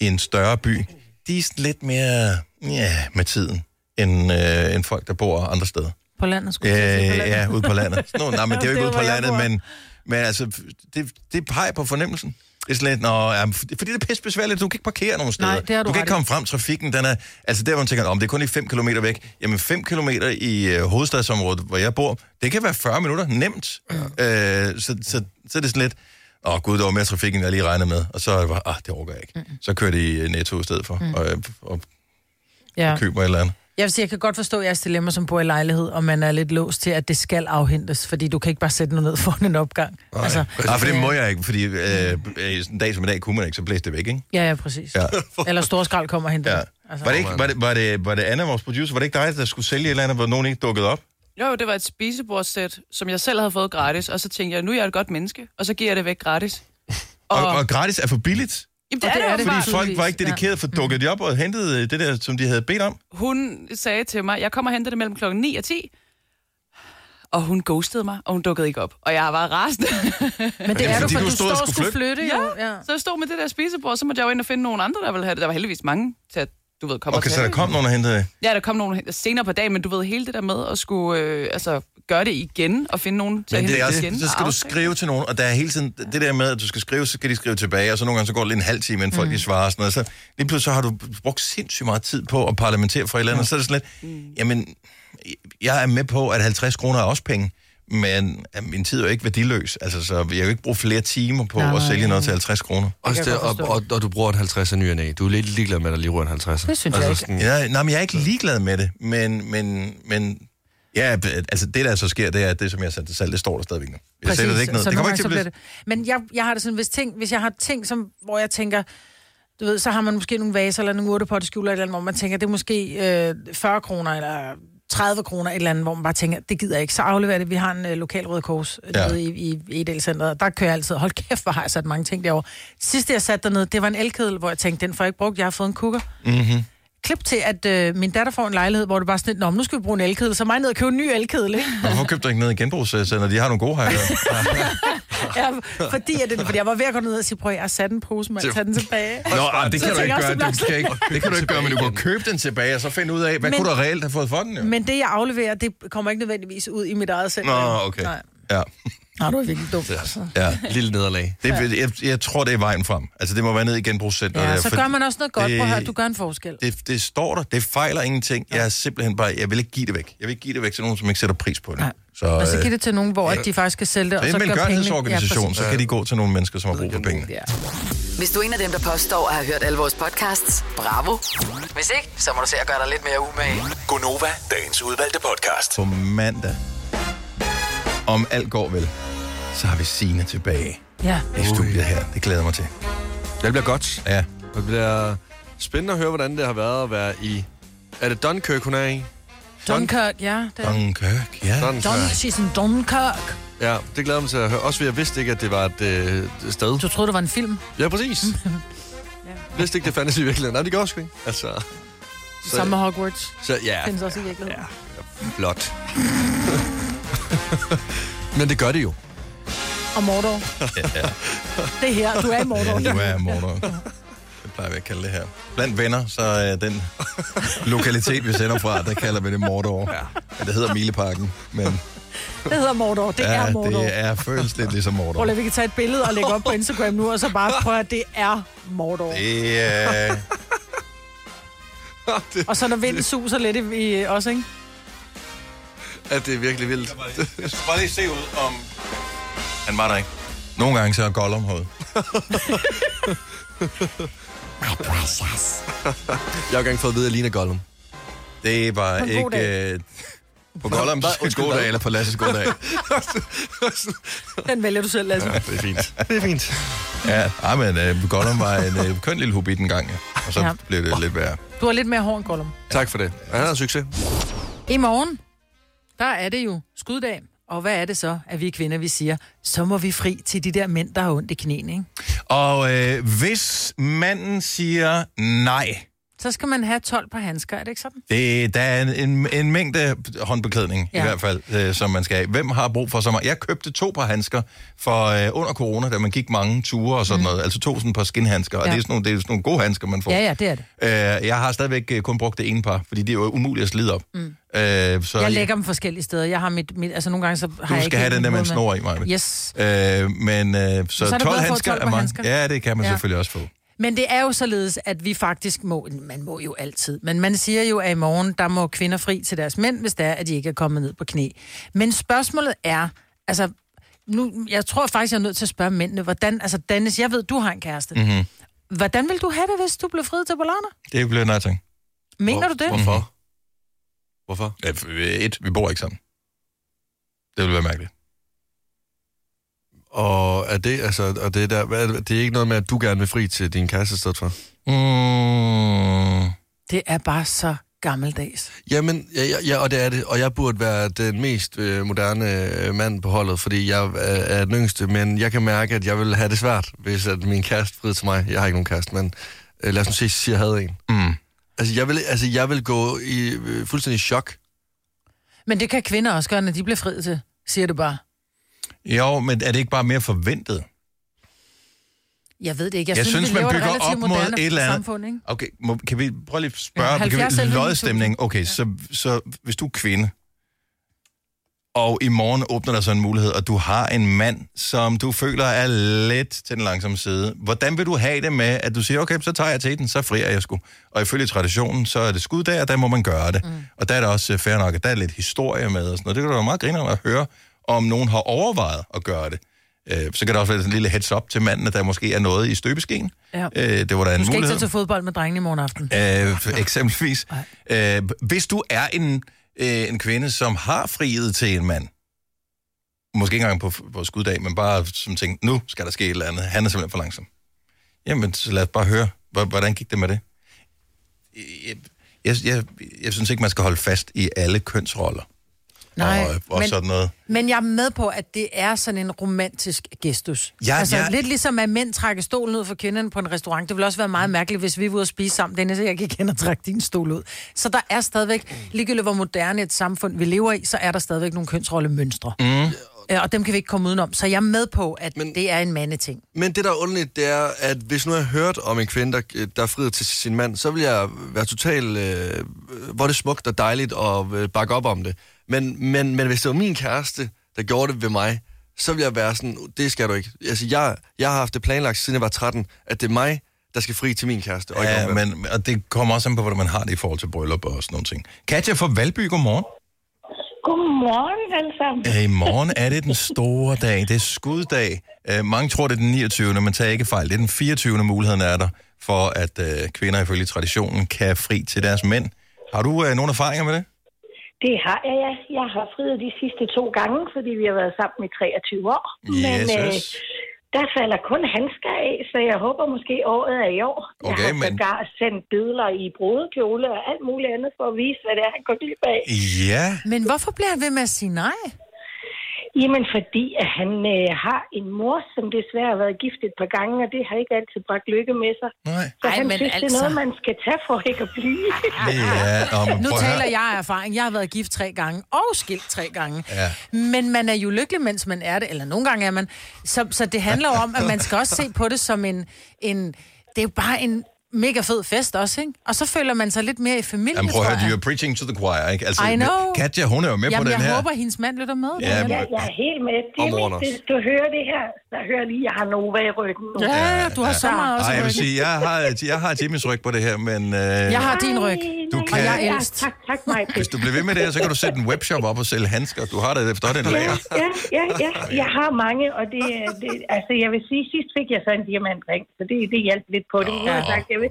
en større by, de er sådan lidt mere... Mm, ja, med tiden, end, øh, end folk, der bor andre steder.
På landet skulle jeg
Øh,
til at sige, på landet.
ja, ude på landet. Nå, nej, men det er jo ikke
Det er,
ude på
hvor jeg
landet,
bor.
men, men altså, det, det peger på fornemmelsen. Det er sådan lidt, nå, ja, men f- fordi det er pissebesværligt, du kan ikke parkere nogen steder.
Nej, det har du
du kan
ret
ikke
i.
komme frem, trafikken, den er, altså der, hvor man tænker, om det er kun i 5 km væk. Jamen 5 km i øh, hovedstadsområdet, hvor jeg bor, det kan være 40 minutter, nemt. Øh, så, så, så er det sådan lidt, åh oh, gud, der var mere trafik, end jeg lige regnede med. Og så er det bare, ah, det overgår jeg ikke. Så kører de i øh, Netto i stedet for,
Mm.
og, øh, og
Ja.
køber et eller andet.
Jeg vil sige, jeg kan godt forstå jeres dilemma, som bor i lejlighed, og man er lidt låst til, at det skal afhentes, fordi du kan ikke bare sætte noget ned foran en opgang. Nej, altså,
Nej, for det må jeg ikke, fordi øh, øh, sådan en dag som i dag kunne man ikke, så blæste det væk, ikke?
Ja, ja, præcis.
Ja.
Ja. Eller Storskrald kommer og henter
Ja.
den. altså.
Var det, ikke, var, det, var, det, var det Anna, vores producer, var det ikke dig, der skulle sælge et eller andet, hvor nogen ikke dukkede op?
Jo, jo, det var et spisebordssæt, som jeg selv havde fået gratis, og så tænkte jeg, nu er jeg et godt menneske, og så giver jeg det væk gratis.
Og, og gratis er for billigt,
Jamen,
Og
det, og
det
er
er
det,
det,
åbenbart.
fordi folk var ikke dedikeret, for dukkede de op og hentede øh, det der, som de havde bedt om.
Hun sagde til mig, jeg kommer og henter det mellem klokken 9 og 10, og hun ghostede mig, og hun dukkede ikke op. Og jeg var rasende.
Men det er du,
fordi
for
du
du
stod og
står og
skulle
skulle flytte, jo. Ja.
Så jeg stod med det der spisebord, så måtte jeg jo ind og finde nogle andre, der ville have det. Der var heldigvis mange til at, du ved, komme og
Okay, så
tage
der
det.
kom nogen og hentede det.
Ja, der kom nogle senere på dagen, men du ved hele det der med at skulle øh, altså, gøre det igen og finde nogen til at
Men
hente
det er
det,
også,
igen.
så
og
skal du
aftage.
skrive til nogen, og der er hele tiden det der med, at du skal skrive, så skal de skrive tilbage, og så nogle gange så går det lidt en halv time, inden folk
Mm.
de svarer og sådan noget. Så lige pludselig så har du brugt sindssygt meget tid på at parlamentere for et eller andet, og så er det sådan
Mm.
lidt, jamen, jeg er med på, at 50 kroner er også penge, men øh, min tid er jo ikke værdiløs, altså, så jeg vil jo ikke bruge flere timer på
Nej,
at
nej,
sælge
nej.
noget til 50 kroner.
Også
kan jeg
det, og,
godt
og, og, du bruger en 50 af ny og næ. Du er lidt ligeglad med, at der lige rører en 50.
Det synes jeg ikke.
Sådan,
Ja, nej, men jeg er ikke ligeglad med det, men, men, men ja, b- altså det der så sker, det er at det, som jeg satte til salg, det står der stadigvæk nu. Jeg sælger det ikke ned.
så
Det kommer
nogle
ikke til at
gange
blive...
så bliver det. Men jeg, jeg har det sådan, hvis, ting, hvis jeg har ting, som, hvor jeg tænker, du ved, så har man måske nogle vaser eller nogle urtepotteskjuler eller et eller andet, hvor man tænker, det er måske øh, 40 kroner eller 30 kroner et eller andet, hvor man bare tænker, det gider jeg ikke. Så afleverer det. Vi har en øh, lokal røde kors
Ja.
ja. nede i, i Edelcenteret, og der kører jeg altid. Hold kæft, hvor har jeg sat mange ting derovre. Sidste jeg satte dernede, det var en elkedel, hvor jeg tænkte, den får jeg ikke brugt. Jeg har fået en kukker.
Mm-hmm.
Klip til, at øh, min datter får en lejlighed, hvor det bare er sådan lidt, "Nå, men nu skal vi bruge en elkedel, så mig ned og købe en ny elkedel, ikke?
Hvorfor købte du ikke noget i genbrugscenter? De har nogle gode her.
Ja, fordi, at det, fordi jeg var ved at gå ned og sige, prøv at jeg har sat en pose, man tager den tilbage.
Nå, ah, det
Så
kan du
tænker
ikke
jeg også,
gøre.
det
Det, kan
bliver
ikke, det kan du ikke gøre, men du kan købe den tilbage, og så finde ud af, hvad men,
Men-
kunne du reelt have fået for den? Jo?
Men det, jeg afleverer, det kommer ikke nødvendigvis ud i mit eget center.
Nå, okay.
Nej,
Ja,
Nå, du er virkelig dum. Altså.
ja.
Lille nederlag.
Det, jeg, jeg tror, det er vejen frem. Altså, det må være ned i genbrugscenteret.
Ja,
der,
så
for-
gør man også noget godt.
det-
Prøv at høre, du gør en forskel.
det, det står der. Det fejler ingenting. Jeg er simpelthen bare... Jeg vil ikke give det væk. Jeg vil ikke give det væk til nogen, som ikke sætter pris på det.
Nej.
Så,
Og så
øh,
giv det til nogen, hvor at de faktisk skal sælge det, og
Det er en
så gør pengene...
velgørenhedsorganisation, så kan de gå til nogle mennesker, som har brug for pengene.
Ja,
Hvis du er en af dem, der påstår at have hørt alle vores podcasts, bravo. Hvis ikke, så må du se at gøre dig lidt mere umage.
Gonova, dagens udvalgte podcast.
På mandag, om alt går vel, så har vi Sine tilbage
ja.
i studiet her. Det glæder jeg mig til.
Det bliver godt.
Ja.
Det bliver spændende at høre, hvordan det har været at være i... Er det Dunkirk, hun er i?
Dunkirk, ja. Det er.
Dunkirk, ja.
Dun,
Dunkirk.
she's in Dunkirk.
Ja, det glæder jeg mig til at høre. Også fordi jeg vidste ikke, at det var et øh, sted.
Du troede, det var en film,
Ja, præcis. Jeg vidste ikke, det fandtes i virkeligheden. Nej, det gør også ikke. Altså, Så-
sammen med Hogwarts.
så ja,
Findes også i virkeligheden.
flot. Men det gør det jo.
Og Mordor. Det er her, du er i Mordor.
Ja, nu er Mordor. Det plejer vi at kalde det her. Blandt venner, så er den lokalitet, vi sender fra, der kalder vi det Mordor. Ja. Det hedder Mileparken, men
Det hedder Mordor. Det
ja,
er Mordor.
det er føles lidt ligesom Mordor.
Prøv lige, vi kan tage et billede og lægge op på Instagram nu, og så bare prøve, at det er Mordor.
Det øh, er...
Og så når vinden suser lidt i, i os, ikke?
At det er virkelig vildt.
Jeg skal bare lige se ud om... Han var der ikke. Nogle gange så er Gollum hovedet.
Jeg har ikke engang fået at vide, at jeg ligner Gollum.
Det var
en god
ikke... Øh, på
Hvad?
Gollums
Undskyld,
gode
hvad?
dag eller på Lasses gode dag.
Den vælger du selv, Lasse.
Det er fint. Det er fint.
ja, ej, men øh, Gollum var en øh, køn lille hobbit en gang, ja. og så ja.
Ja.
blev det lidt værre.
Du har lidt mere hård end Gollum.
Tak for det. Han har succes.
I morgen, der er det jo skuddag. Og hvad er det så, at vi kvinder, vi siger, så må vi fri til de der mænd, der har ondt i knæene, ikke?
Og øh, hvis manden siger nej,
Så skal man have 12 par handsker, er det ikke sådan?
Det, der er en, en, en mængde håndbeklædning, ja. i
Ja.
hvert fald, øh, som man skal have. Hvem har brug for så meget? Jeg købte to par handsker for øh, under corona, da man gik mange ture og sådan mm. noget. Altså to sådan par skinhandsker, ja. og
Ja.
det er, sådan nogle, det er sådan nogle gode handsker, man får.
Ja, ja, det er det.
Øh, jeg har stadigvæk øh, kun brugt det ene par, fordi det er jo umuligt at slide op. Mm. Øh, så
Jeg lægger dem forskellige steder. Jeg har mit, mit altså nogle gange så har jeg
du
ikke
skal have
helt
den der med en
mit hoved
snor i, mig.
Yes.
Øh, men øh, så,
er
så 12
det bedre at få
handsker
12
er
par
mange.
handsker.
Ja, det kan man ja.
Ja.
selvfølgelig også få.
Men det er jo således, at vi faktisk må, man må jo altid, men man siger jo, at i morgen, der må kvinder fri til deres mænd, hvis det er, at de ikke er kommet ned på knæ. Men spørgsmålet er, altså, nu, jeg tror faktisk, jeg er nødt til at spørge mændene, hvordan, altså Dennis, jeg ved, du har en kæreste.
Mm.
Mm-hmm. Hvordan vil du have det, hvis du blev friet til Bolana?
Det bliver nej ting.
Mener du det?
Hvorfor? Hvorfor?
Ja, f- Et, vi bor ikke sammen. Det ville være mærkeligt.
Og er det, altså, og det, der, hvad er det, det er ikke noget med, at du gerne vil fri til din kæreste i stedet for?
Mm.
Det er bare så gammeldags.
Jamen, ja, ja, ja, og det er det. Og jeg burde være den mest øh, moderne øh, mand på holdet, fordi jeg er, er den yngste, men jeg kan mærke, at jeg vil have det svært, hvis at min kæreste friede til mig. Jeg har ikke nogen kæreste, men øh, lad os nu se, at jeg havde en.
Mm.
Altså, jeg vil, altså, jeg vil gå i øh, fuldstændig chok.
Men det kan kvinder også gøre, når de bliver friet til, siger du bare.
Jo, men er det ikke bare mere forventet?
Jeg ved det ikke.
Jeg, jeg synes,
vi
man
lever et
bygger op
relativt
mod
moderne
et eller andet.
Samfund, ikke?
Okay, må, kan vi prøve lige at spørge,
Ja,
ja, kan
70
vi,
11
lodstemning. Okay, ja. så, så hvis du er kvinde, og i morgen åbner der så en mulighed, og du har en mand, som du føler er lidt til den langsomme side. Hvordan vil du have det med, at du siger, okay, så tager jeg til den, så frier jeg sgu. Og ifølge traditionen, så er det skuddag, og der må man gøre det. Mm. Og der er det også øh, fair nok, at der er lidt historie med og sådan noget. Det kan du være meget grinerende at høre, om nogen har overvejet at gøre det. Øh, Så kan der også være sådan en lille heads up til manden, at der måske er noget i støbeskeen.
Ja.
Øh, Det var da en
Du skal ikke
mulighed.
tage til fodbold med drengene i morgen aften.
Øh, for eksempelvis. Øh, hvis du er en, øh, en kvinde, som har friet til en mand, måske ikke engang på, på skuddag, men bare som tænkte, nu skal der ske et eller andet, han er simpelthen for langsom. Jamen, så lad os bare høre, Hvor- hvordan gik det med det? Jeg, jeg, jeg, jeg synes ikke, man skal holde fast i alle kønsroller.
Nej,
og, og
men-
sådan noget.
Men jeg er med på, at det er sådan en romantisk gestus.
Ja,
Ja, altså
ja.
ja. lidt ligesom, at mænd trækker stolen ud for kvinderne på en restaurant. Det ville også være meget mærkeligt, hvis vi var ude og spise sammen. Dennis, jeg kan ikke og trække din stol ud. Så der er stadigvæk, ligegyldigt hvor moderne et samfund vi lever i, så er der stadigvæk nogle kønsrollemønstre. Mm. Og dem kan vi ikke komme udenom. Så jeg er med på, at Men... det er en mandeting.
Men det, der er underligt, det er, at hvis nu jeg hørt om en kvinde, der, der friede til sin mand, så vil jeg være totalt... Øh, hvor er det smukt og dejligt at øh, bakke op om det. Men, men, men hvis det var min kæreste, der gjorde det ved mig, så vil jeg være sådan, det skal du ikke. Altså, jeg, jeg har haft det planlagt, siden jeg var 13, at det er mig, der skal fri til min kæreste. Og ikke
Ja,
omvendt.
men, og det kommer også an på, hvordan man har det i forhold til bryllup og sådan nogle ting. Katja fra Valby, godmorgen.
Godmorgen alle sammen.
Øh, I morgen er det den store dag. Det er skuddag. Øh, mange tror, det er den 29., men tag ikke fejl. Det er den 24. muligheden er der, for at øh, kvinder ifølge traditionen kan fri til deres mænd. Har du øh, nogle erfaringer med det?
Det har jeg, ja. Jeg har friet de sidste to gange, fordi vi har været sammen i 23 år. Men øh,
Jesus.
der falder kun handsker af, så jeg håber måske året er i år. jeg
Okay,
har
men-
sågar sendt billeder i brudekjole og alt muligt andet for at vise, hvad det er, han går glip af.
Ja.
Men hvorfor bliver han ved med at sige nej?
Jamen, fordi at han øh, har en mor, som desværre har været gift et par gange, og det har ikke altid bragt lykke med sig.
Nej.
Så
Ej,
han
men
synes, det er
altså.
noget, man skal tage for ikke at blive.
Ja, og,
Nu taler jeg af erfaring. Jeg har været gift tre gange og skilt tre gange.
Ja.
Men man er jo lykkelig, mens man er det, eller nogle gange er man. Så, så det handler jo om, at man skal også se på det som en, en... Det er jo bare en mega fed fest også, ikke? Og så føler man sig lidt mere i familie,
Jamen, prøv at
tror
høre,
jeg.
you're preaching to the choir, ikke? Altså,
I know.
Katja, hun er jo med
Jamen,
på
jeg
den her.
håber, hendes mand lytter med.
Ja,
Ja,
men-
jeg er helt med. Det
Og
er
morgen
min,
også.
hvis du hører det her, så hører lige, jeg har Nova i ryggen nu.
ja, du har så meget også
Ej, jeg vil
ryggen.
sige, jeg har, øh, jeg har Jimmys ryg på det her, men øh,
Jeg har
Ej,
din ryg.
Du
nej,
kan-
Og
nej,
jeg er
ja,
ældst.
Tak, tak, Maja.
hvis du bliver ved med det her, så kan du sætte en webshop op og sælge handsker. Du har det efterhånden en
Ja,
lager.
ja, ja, ja, jeg har mange, og det, det, altså jeg vil sige, sidst fik jeg så en diamantring, så det, det hjalp lidt på det. Jeg har sagt, jeg vil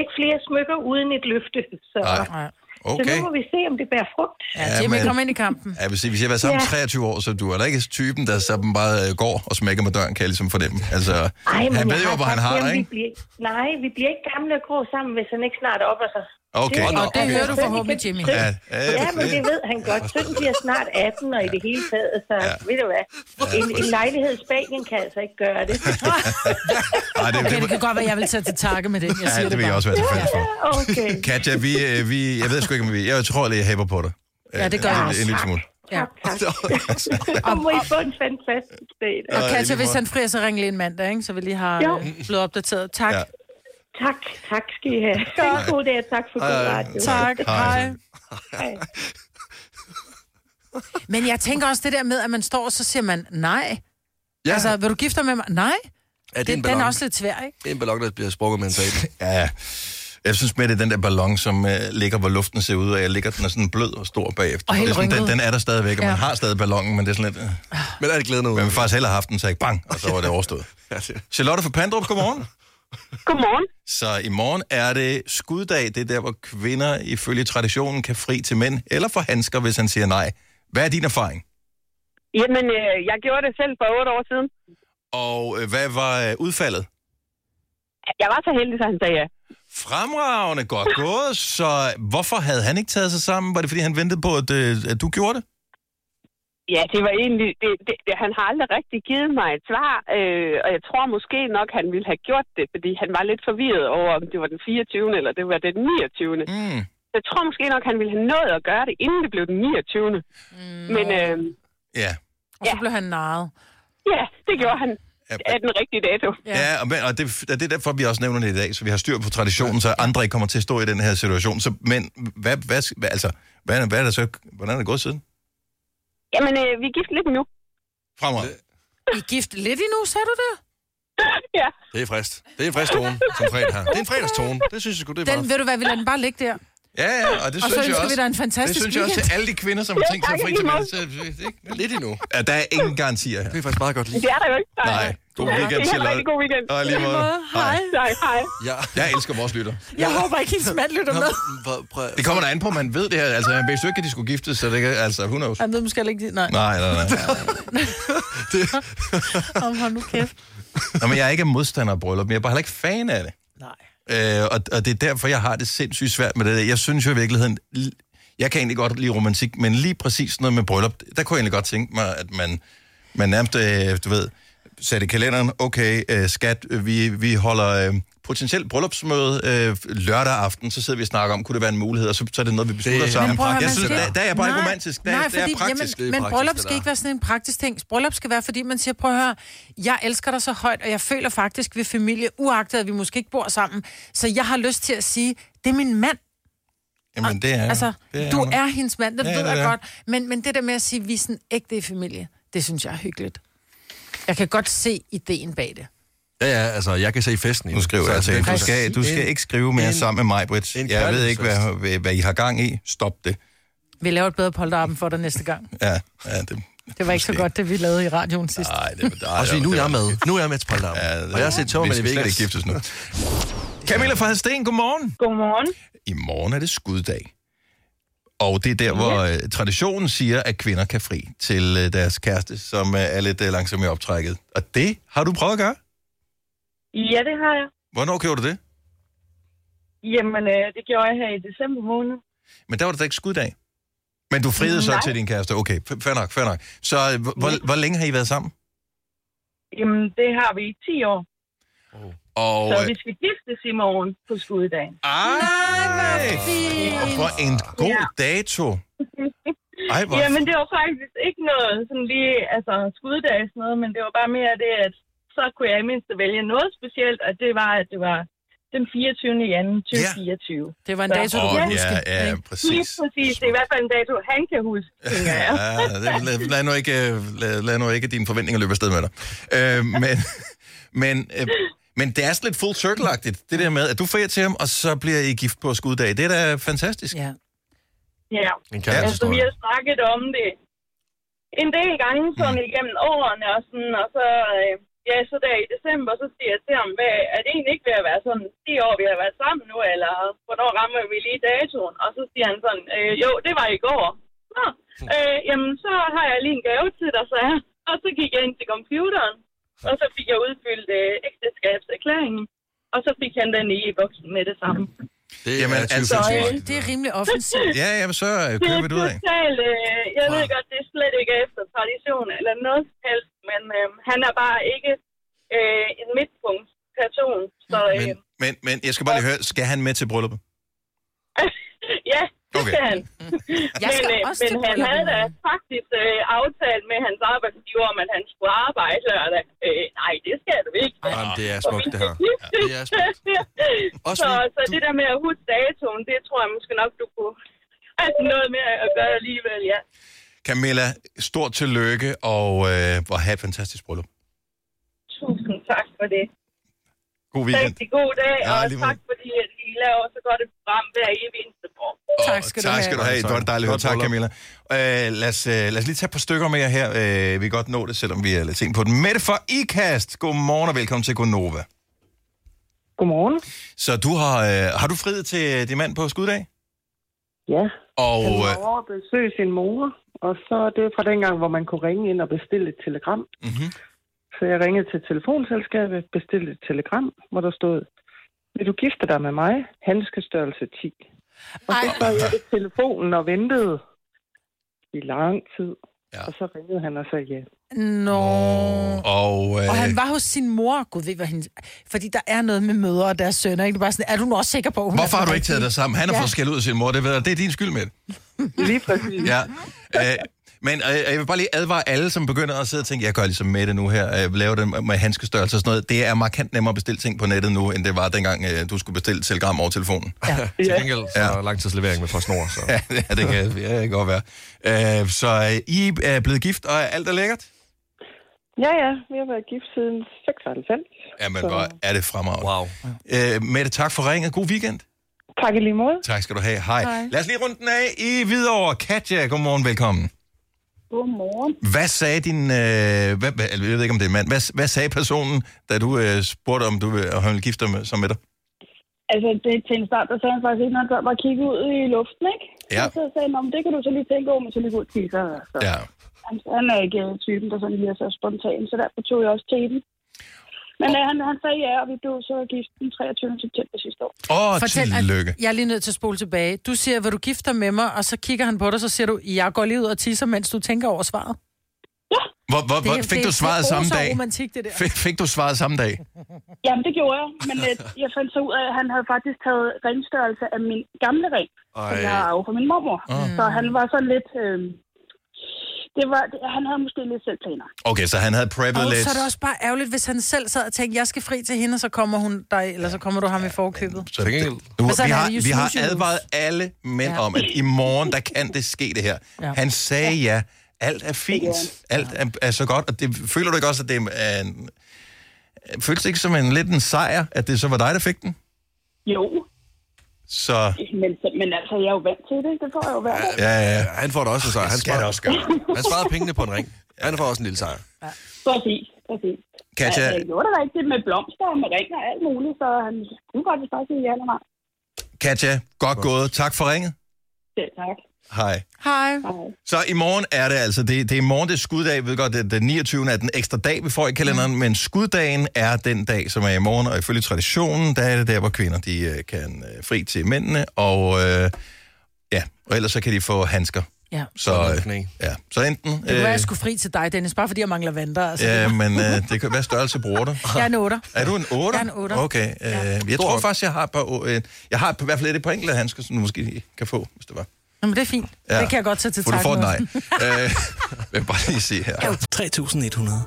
ikke flere smykker uden et løfte, så,
Nej.
så nu
Okay.
må vi se, om det bærer frugt.
Ja, Jimmy,
men-
kom ind i kampen.
Ja, hvis, hvis jeg har været sammen
Ja.
23 år, så du er da ikke typen, der sådan bare øh, går og smækker med døren, kan jeg ligesom fornemme. Altså, han
jeg
ved jo,
har
hvor han
sagt
har
til ham,
dig,
vi
ikke?
bliver, nej, vi bliver ikke gamle og grå sammen, hvis han ikke snart altså. opper sig.
Okay.
Og det hører du forhåbentlig, Jimmy.
Ja, øh,
Ja, men det ved han godt. Sønnen bliver snart 18, og i det hele taget, så ja. ved du hvad, en, en lejlighed i Spanien kan altså ikke gøre det.
Ej, det,
Okay,
det,
det kan
det,
godt være, jeg vil tage til takke med det. Jeg siger
ja, det vil jeg
bare.
også være tilfældig for.
Okay,
Katja, vi, øh, vi, jeg ved sgu ikke, om vi... Jeg tror lige, jeg hæber på dig.
Ja, det gør
Øh,
jeg
en-
også.
En lille smule.
Ja.
tak. Så må I få en fantastisk dag.
Og
Ja, i lige
Katja, hvis
måde.
han frier, så ring lige en mandag, ikke? så vi lige har
Jo.
øh, blevet opdateret. Tak.
Ja.
Ja.
Tak, tak skal I have. God dag, og tak for god radio.
Tak.
Hej.
Hej. Men jeg tænker også det der med, at man står, og så siger man nej.
Ja,
Altså, vil du gifte dig med mig? Nej.
er det
Den,
en
den
ballon?
er også lidt svær, ikke?
En ballon, der bliver sprunget med en sabel.
Ja, jeg synes med, det er den der ballon, som øh, ligger, hvor luften ser ud, og jeg ligger, den er sådan blød og stor bagefter.
Og helt
det er sådan, den,
rynket.
den er der stadigvæk, og man
Ja.
har stadig ballonen, men det er sådan lidt... Øh.
Men er det glæden ud?
Men vi har faktisk hellere haft den, så jeg bang, og så var det overstået.
Ja, det-
Charlotte fra Pandrup, godmorgen.
Godmorgen.
Så i morgen er det skuddag. Det er der, hvor kvinder ifølge traditionen kan fri til mænd, eller for handsker, hvis han siger nej. Hvad er din erfaring?
Jamen, øh, jeg gjorde det selv for otte år siden.
Og øh, hvad var øh, udfaldet?
Jeg var så heldig, så han sagde ja.
Fremragende, godt gået. Så hvorfor havde han ikke taget sig sammen? Var det, fordi han ventede på, at, øh, at du gjorde det?
Ja, det var egentlig... Det, det, det, han har aldrig rigtig givet mig et svar, øh, og jeg tror måske nok, han ville have gjort det, fordi han var lidt forvirret over, om det var den 24. eller det var den 29. Mm.
Mm.
Jeg tror måske nok, han ville have nået at gøre det, inden det blev den 29. Mm. Men øh,
Ja.
Og så
Ja.
blev han narret.
ja, det gjorde han
Ja,
af den rigtige dato.
Ja, og, men- og det, og det er derfor, vi også nævner det i dag, så vi har styr på traditionen, så andre ikke kommer til at stå i den her situation. Så, men hvad, hvad, hvad, altså, hvad, hvad er der så, hvordan er det gået siden?
Jamen, øh, vi er gift lidt nu.
Fremad.
I er gift lidt endnu, sagde du det?
ja.
Det er frist. Det er en frisk tone, som fredag har. Det er en fredagstone. Det synes jeg sgu, det er
Den,
meget.
ved du hvad, vi lader den bare ligge der.
Ja, ja, og det
Og så
synes jeg
ønsker vi
også.
dig en
det
fantastisk
synes jeg også
weekend.
til alle de kvinder, som har tænkt sig
tak,
fri
i
til
lige
mænd. så- det- det-
Lidt endnu.
Ja, der er ingen garantier her.
Det er faktisk meget godt lige.
Det er der jo ikke.
Nej. God weekend,
Det er heller
Charlotte.
ikke god weekend.
Og i lige måde. Hej.
Nej, hej.
Ja.
Jeg elsker vores lytter.
Jeg håber ikke, hendes mand lytter
Nå,
med.
prøv- prøv-
Det kommer der an på, man ved det her. Altså, han vidste jo ikke, at de skulle giftes, så det kan, altså, who knows.
Han ved måske heller ikke, nej,
Nej, nej, nej.
om han nu kæft.
Nå, men jeg er ikke modstander af bryllup, men jeg er bare heller ikke fan af det.
Nej.
Øh, og, og det er derfor, jeg har det sindssygt svært med det der. Jeg synes jo i virkeligheden, l- jeg kan egentlig godt lide romantik, men lige præcis noget med bryllup, der kunne jeg egentlig godt tænke mig, at man, man nærmest, øh, du ved, satte i kalenderen, okay, øh, skat, øh, vi, vi holder øh, potentielt bryllupsmøde øh, lørdag aften, så sidder vi og snakker om, kunne det være en mulighed, og så, så er det noget, vi beslutter
Det er
sammen.
Men prøv at høre,
jeg
man
synes,
siger-
der, der er jeg bare ikke romantisk, der,
nej,
der
fordi,
er praktisk.
Det er
Jamen, men
praktisk,
bryllup
det
skal
der.
ikke være sådan en praktisk ting. Bryllup skal være, fordi man siger, prøv at høre, jeg elsker dig så højt, og jeg føler faktisk ved familie, uagtet at vi måske ikke bor sammen. Så jeg har lyst til at sige, det er min mand.
Jamen, det er,
Altså,
det er
du er hendes mand, det
Ja,
ja,
det
ved
er
jeg
det.
godt. Men, men det der med at sige, vi er sådan ægte i familie, det synes jeg er hyggeligt. Jeg kan godt se ideen bag det.
Ja, ja, altså, jeg kan se festen i altså,
Nu skriver jeg til
det.
hende,
er
du skal, du skal
en-
ikke skrive mere
en-
sammen med mig, Britt.
en
Jeg ved ikke, hvad,
kærlighedsfest.
hvad, hvad I har gang i. Stop det.
Vi laver et bedre polterappen for dig næste gang.
Ja, ja det...
Det var ikke
Måske.
så
Ah.
godt, det vi lavede i radioen sidst.
Nej, det var
Og sige, nu er jeg med. Nu er jeg med til Polterabend. og jeg har set Torben i
Vi skal
Vegas.
slet ikke giftes nu. Camilla fra Hadsten, godmorgen.
Godmorgen.
I morgen er det skuddag. Og det er der, hvor øh, traditionen siger, at kvinder kan fri til øh, deres kæreste, som øh, er lidt øh, langsomt i optrækket. Og det har du prøvet at gøre.
Ja, det har jeg.
Hvornår gjorde du det?
Jamen, øh, det gjorde jeg her i december måned.
Men der var det da ikke skuddag. Men du friede så
Nej.
til din kæreste. Okay, f- fair nok, fair nok. Så øh, hvor, hvor, hvor længe har I været sammen?
Jamen, det har vi i 10 år.
Og,
Så
øh,
vi skal giftes i morgen på skuddagen.
Ej, hvor en god dato. Ej, hvor...
Jamen, det var faktisk ikke noget sådan lige, altså skuddag og sådan noget, men det var bare mere det, at så kunne jeg i mindste vælge noget specielt, og det var, at det var den 24. januar 2024.
Det var en
Ja.
dato, du
Åh,
kunne huske.
ja, ja,
ikke?
Lige
præcis.
præcis. Det er i hvert fald en dato, han kan huske, tænker jeg.
Ja, det- lad, lad, nu ikke, øh, lad, lad nu ikke dine forventninger løbe afsted med dig. Øh, men, men, øh, men det er sådan lidt full circle det der med, at du frier til ham, og så bliver I gift på skuddag. Det er da fantastisk.
Ja.
Ja.
En
Altså, vi
kærlighedshistorie.
har snakket om det en del gange sådan igennem årene, og, sådan, og så, øh, ja, så der i december, så siger jeg til ham, hvad, er det egentlig ikke ved at være sådan, de år, vi har været sammen nu, eller hvornår rammer vi lige datoen? Og så siger han sådan, øh, jo, det var i går. Nå, øh, jamen, så har jeg lige en gave til dig, så jeg. Og så gik jeg ind til computeren, og så fik jeg udfyldt øh, ægteskabserklæringen, og så fik han den i voksen med det samme.
Det
Jamen,
er 20
altså-
Så,
Sindssygt.
øh, det er rimelig offensivt.
Ja, jamen så øh,
Det
kører vi
er
det ud af.
totalt, øh, jeg ved
Wow.
godt, det er slet ikke efter tradition eller noget som helst, men øh, han er bare ikke øh, en midtpunktsperson. Så øh,
Men, men, men jeg skal bare lige høre, skal han med til brylluppet?
ja, det
Okay.
skal han.
Jeg skal
men øh,
også
men
til
han
brylluppet.
havde da faktisk øh, aftalt med hans arbejdsgiver, om at han skulle arbejde lørdag. Øh, nej, det skal du ikke.
Jamen, det er smukt, det her. Ah, det er Også
så,
fordi
så
du-
det der med at huske datoen, det tror jeg måske nok, du kunne altså noget med at gøre alligevel, ja.
Camilla, stort tillykke, og øh, hvor have et fantastisk bryllup.
Tusind tak for det.
God weekend.
Rigtig god dag,
Ja,
og
lige måde.
tak fordi at I laver så godt et program hver evig eneste år.
Og
Tak skal du
tak
have.
Skal du have. Det var dejligt at
Godt
høre. Tak,
bryllup.
Camilla. Øh, lad, os, øh, lad os lige tage et par stykker mere her. Øh, vi kan godt nå det, selvom vi er lidt sent på den. Mette fra IKAST. Godmorgen og velkommen til Gonova.
Godmorgen.
Så du har, øh, har du friet til din mand på skuddag?
Ja,
Og
han
øh,
var over at besøge sin mor, og så er det fra dengang, hvor man kunne ringe ind og bestille et telegram.
Mhm.
Så jeg ringede til telefonselskabet, bestilte et telegram, hvor der stod, vil du gifte dig med mig? Handskestørrelse 10. Og så
Ej.
sad jeg ved telefonen og ventede i lang tid.
Ja.
Ja. Og så ringede han og sagde ja.
Nå.
og, øh,
Og han var hos sin mor. Gud ved, hvad hende... Fordi der er noget med mødre og deres sønner. Ikke? Det er bare sådan, er du nu også sikker på, hun
hvorfor
er
har du ikke taget dig sammen? Han har
Ja.
fået skæld ud af sin mor. Det, ved jeg. det er din skyld, Mette.
Lige præcis.
Ja. Øh, men øh, jeg vil bare lige advare alle, som begynder at sidde og tænke, jeg gør ligesom Mette nu her, øh, laver det med handskestørrelse og sådan noget. Det er markant nemmere at bestille ting på nettet nu, end det var dengang, øh, du skulle bestille et telegram over telefonen.
Til gengæld, så er der langtidslevering med PostNord, så...
Ja, det kan ja, det kan godt være. Øh, så øh, I er blevet gift, og alt er lækkert?
Ja, ja. Vi har været gift siden 96.
Jamen,
Så-
hvor er det fremragende.
Wow.
Øh, Mette, tak for ringet. God weekend.
Tak i lige måde.
Tak skal du have. Hej. Hej. Lad os lige runde den af i Hvidovre. Katja, godmorgen, velkommen.
Godmorgen.
Hvad sagde din... Øh, hvad, hvad, eller jeg ved ikke, om det er en mand. Hvad, hvad sagde personen, da du øh, spurgte, om du ville øh, gifte dig med, som med dig?
Altså, det, til en start, der sagde han faktisk ikke, når han bare kigge ud i luften, ikke?
Ja.
Og så sagde han, "Nå, men det kan du så lige tænke over, men så lige gå til så, så.
Ja.
Han, han er ikke øh, typen, der sådan lige er så spontan, så derfor tog jeg også til den. Men øh, han, han sagde ja, og vi blev så gift den 23. september sidste år.
Åh,
Fortæl,
tillykke.
at jeg er lige nødt til at spole tilbage. Du siger, vil du gifte dig med mig? Og så kigger han på dig, så siger du, jeg går lige ud og tisser, mens du tænker over svaret.
Hvor, hvor, hvor, fik du svaret
det er
samme
prosa-
dag?
romantik, det der.
Fik, fik du svaret samme dag?
Jamen, det gjorde jeg, men øh, jeg fandt så ud af, at han havde faktisk taget ringstørrelse af min gamle ring. som jeg har
Ej,
arvet fra min mormor.
Ah.
Mm. Så han var sådan lidt... Øh, det var, det, han havde måske lidt selvplaner.
Okay, så han havde preppet
Og
lidt.
så er det også bare ærgerligt, hvis han selv sad og tænkte, jeg skal fri til hende, og så kommer hun dig, eller så kommer du ham i forkøbet.
Så
Til
det,
gengæld-
nu,
Men sådan
vi,
er
har,
det jo
vi har
snusjus.
advaret alle mænd ja.
Ja.
om, at i morgen, der kan det ske det her. Ja.
Ja.
Han sagde ja. Alt er fint. Alt er, er så godt. Og det, føler du ikke også, at det er en, føles det ikke som en lidt en sejr, at det så var dig, der fik den?
Jo,
Så
men, men altså, jeg er jo vant til det. Det får jeg jo hver dag.
ja, ja, ja.
han får det også, så han
Han skal det
sparer,
også gøre.
han sparer pengene på en ring. Han får også en lille sejr.
Præcis, præcis.
Katja,
jeg gjorde det rigtigt med blomster og med ringer og alt muligt, så øhm, han kunne faktisk bare sige ja eller nej.
Katja, godt gået. Tak for ringet.
Selv tak.
Hej.
Hej.
Så i morgen er det altså, det, det er i morgen, det er skuddag. Jeg ved godt, det, den 29. er den ekstra dag, vi får i
Mm.
kalenderen, men skuddagen er den dag, som er i morgen, og ifølge traditionen, der er det der, hvor kvinder de øh, kan øh, fri til mændene, og øh, ja, og ellers så kan de få handsker.
Ja.
Så, øh,
Knæ.
ja. så enten...
Det kunne være, jeg skulle fri til dig, Dennis, bare fordi jeg mangler vandre. Altså.
Øh. ja, men øh, det kan, hvad størrelse bruger du?
Jeg er en otter.
Er du en 8?
Jeg er en otter.
Okay, øh, jeg tror faktisk, jeg har, et par, å- øh, jeg har på, i hvert fald et par enkelte handsker, som du måske kan få, hvis det var.
Nå, men det er fint.
Ja.
Ja. Det kan jeg godt tage til
For du
takken
får et nej.
også.
øh, jeg vil bare lige se her.
3100.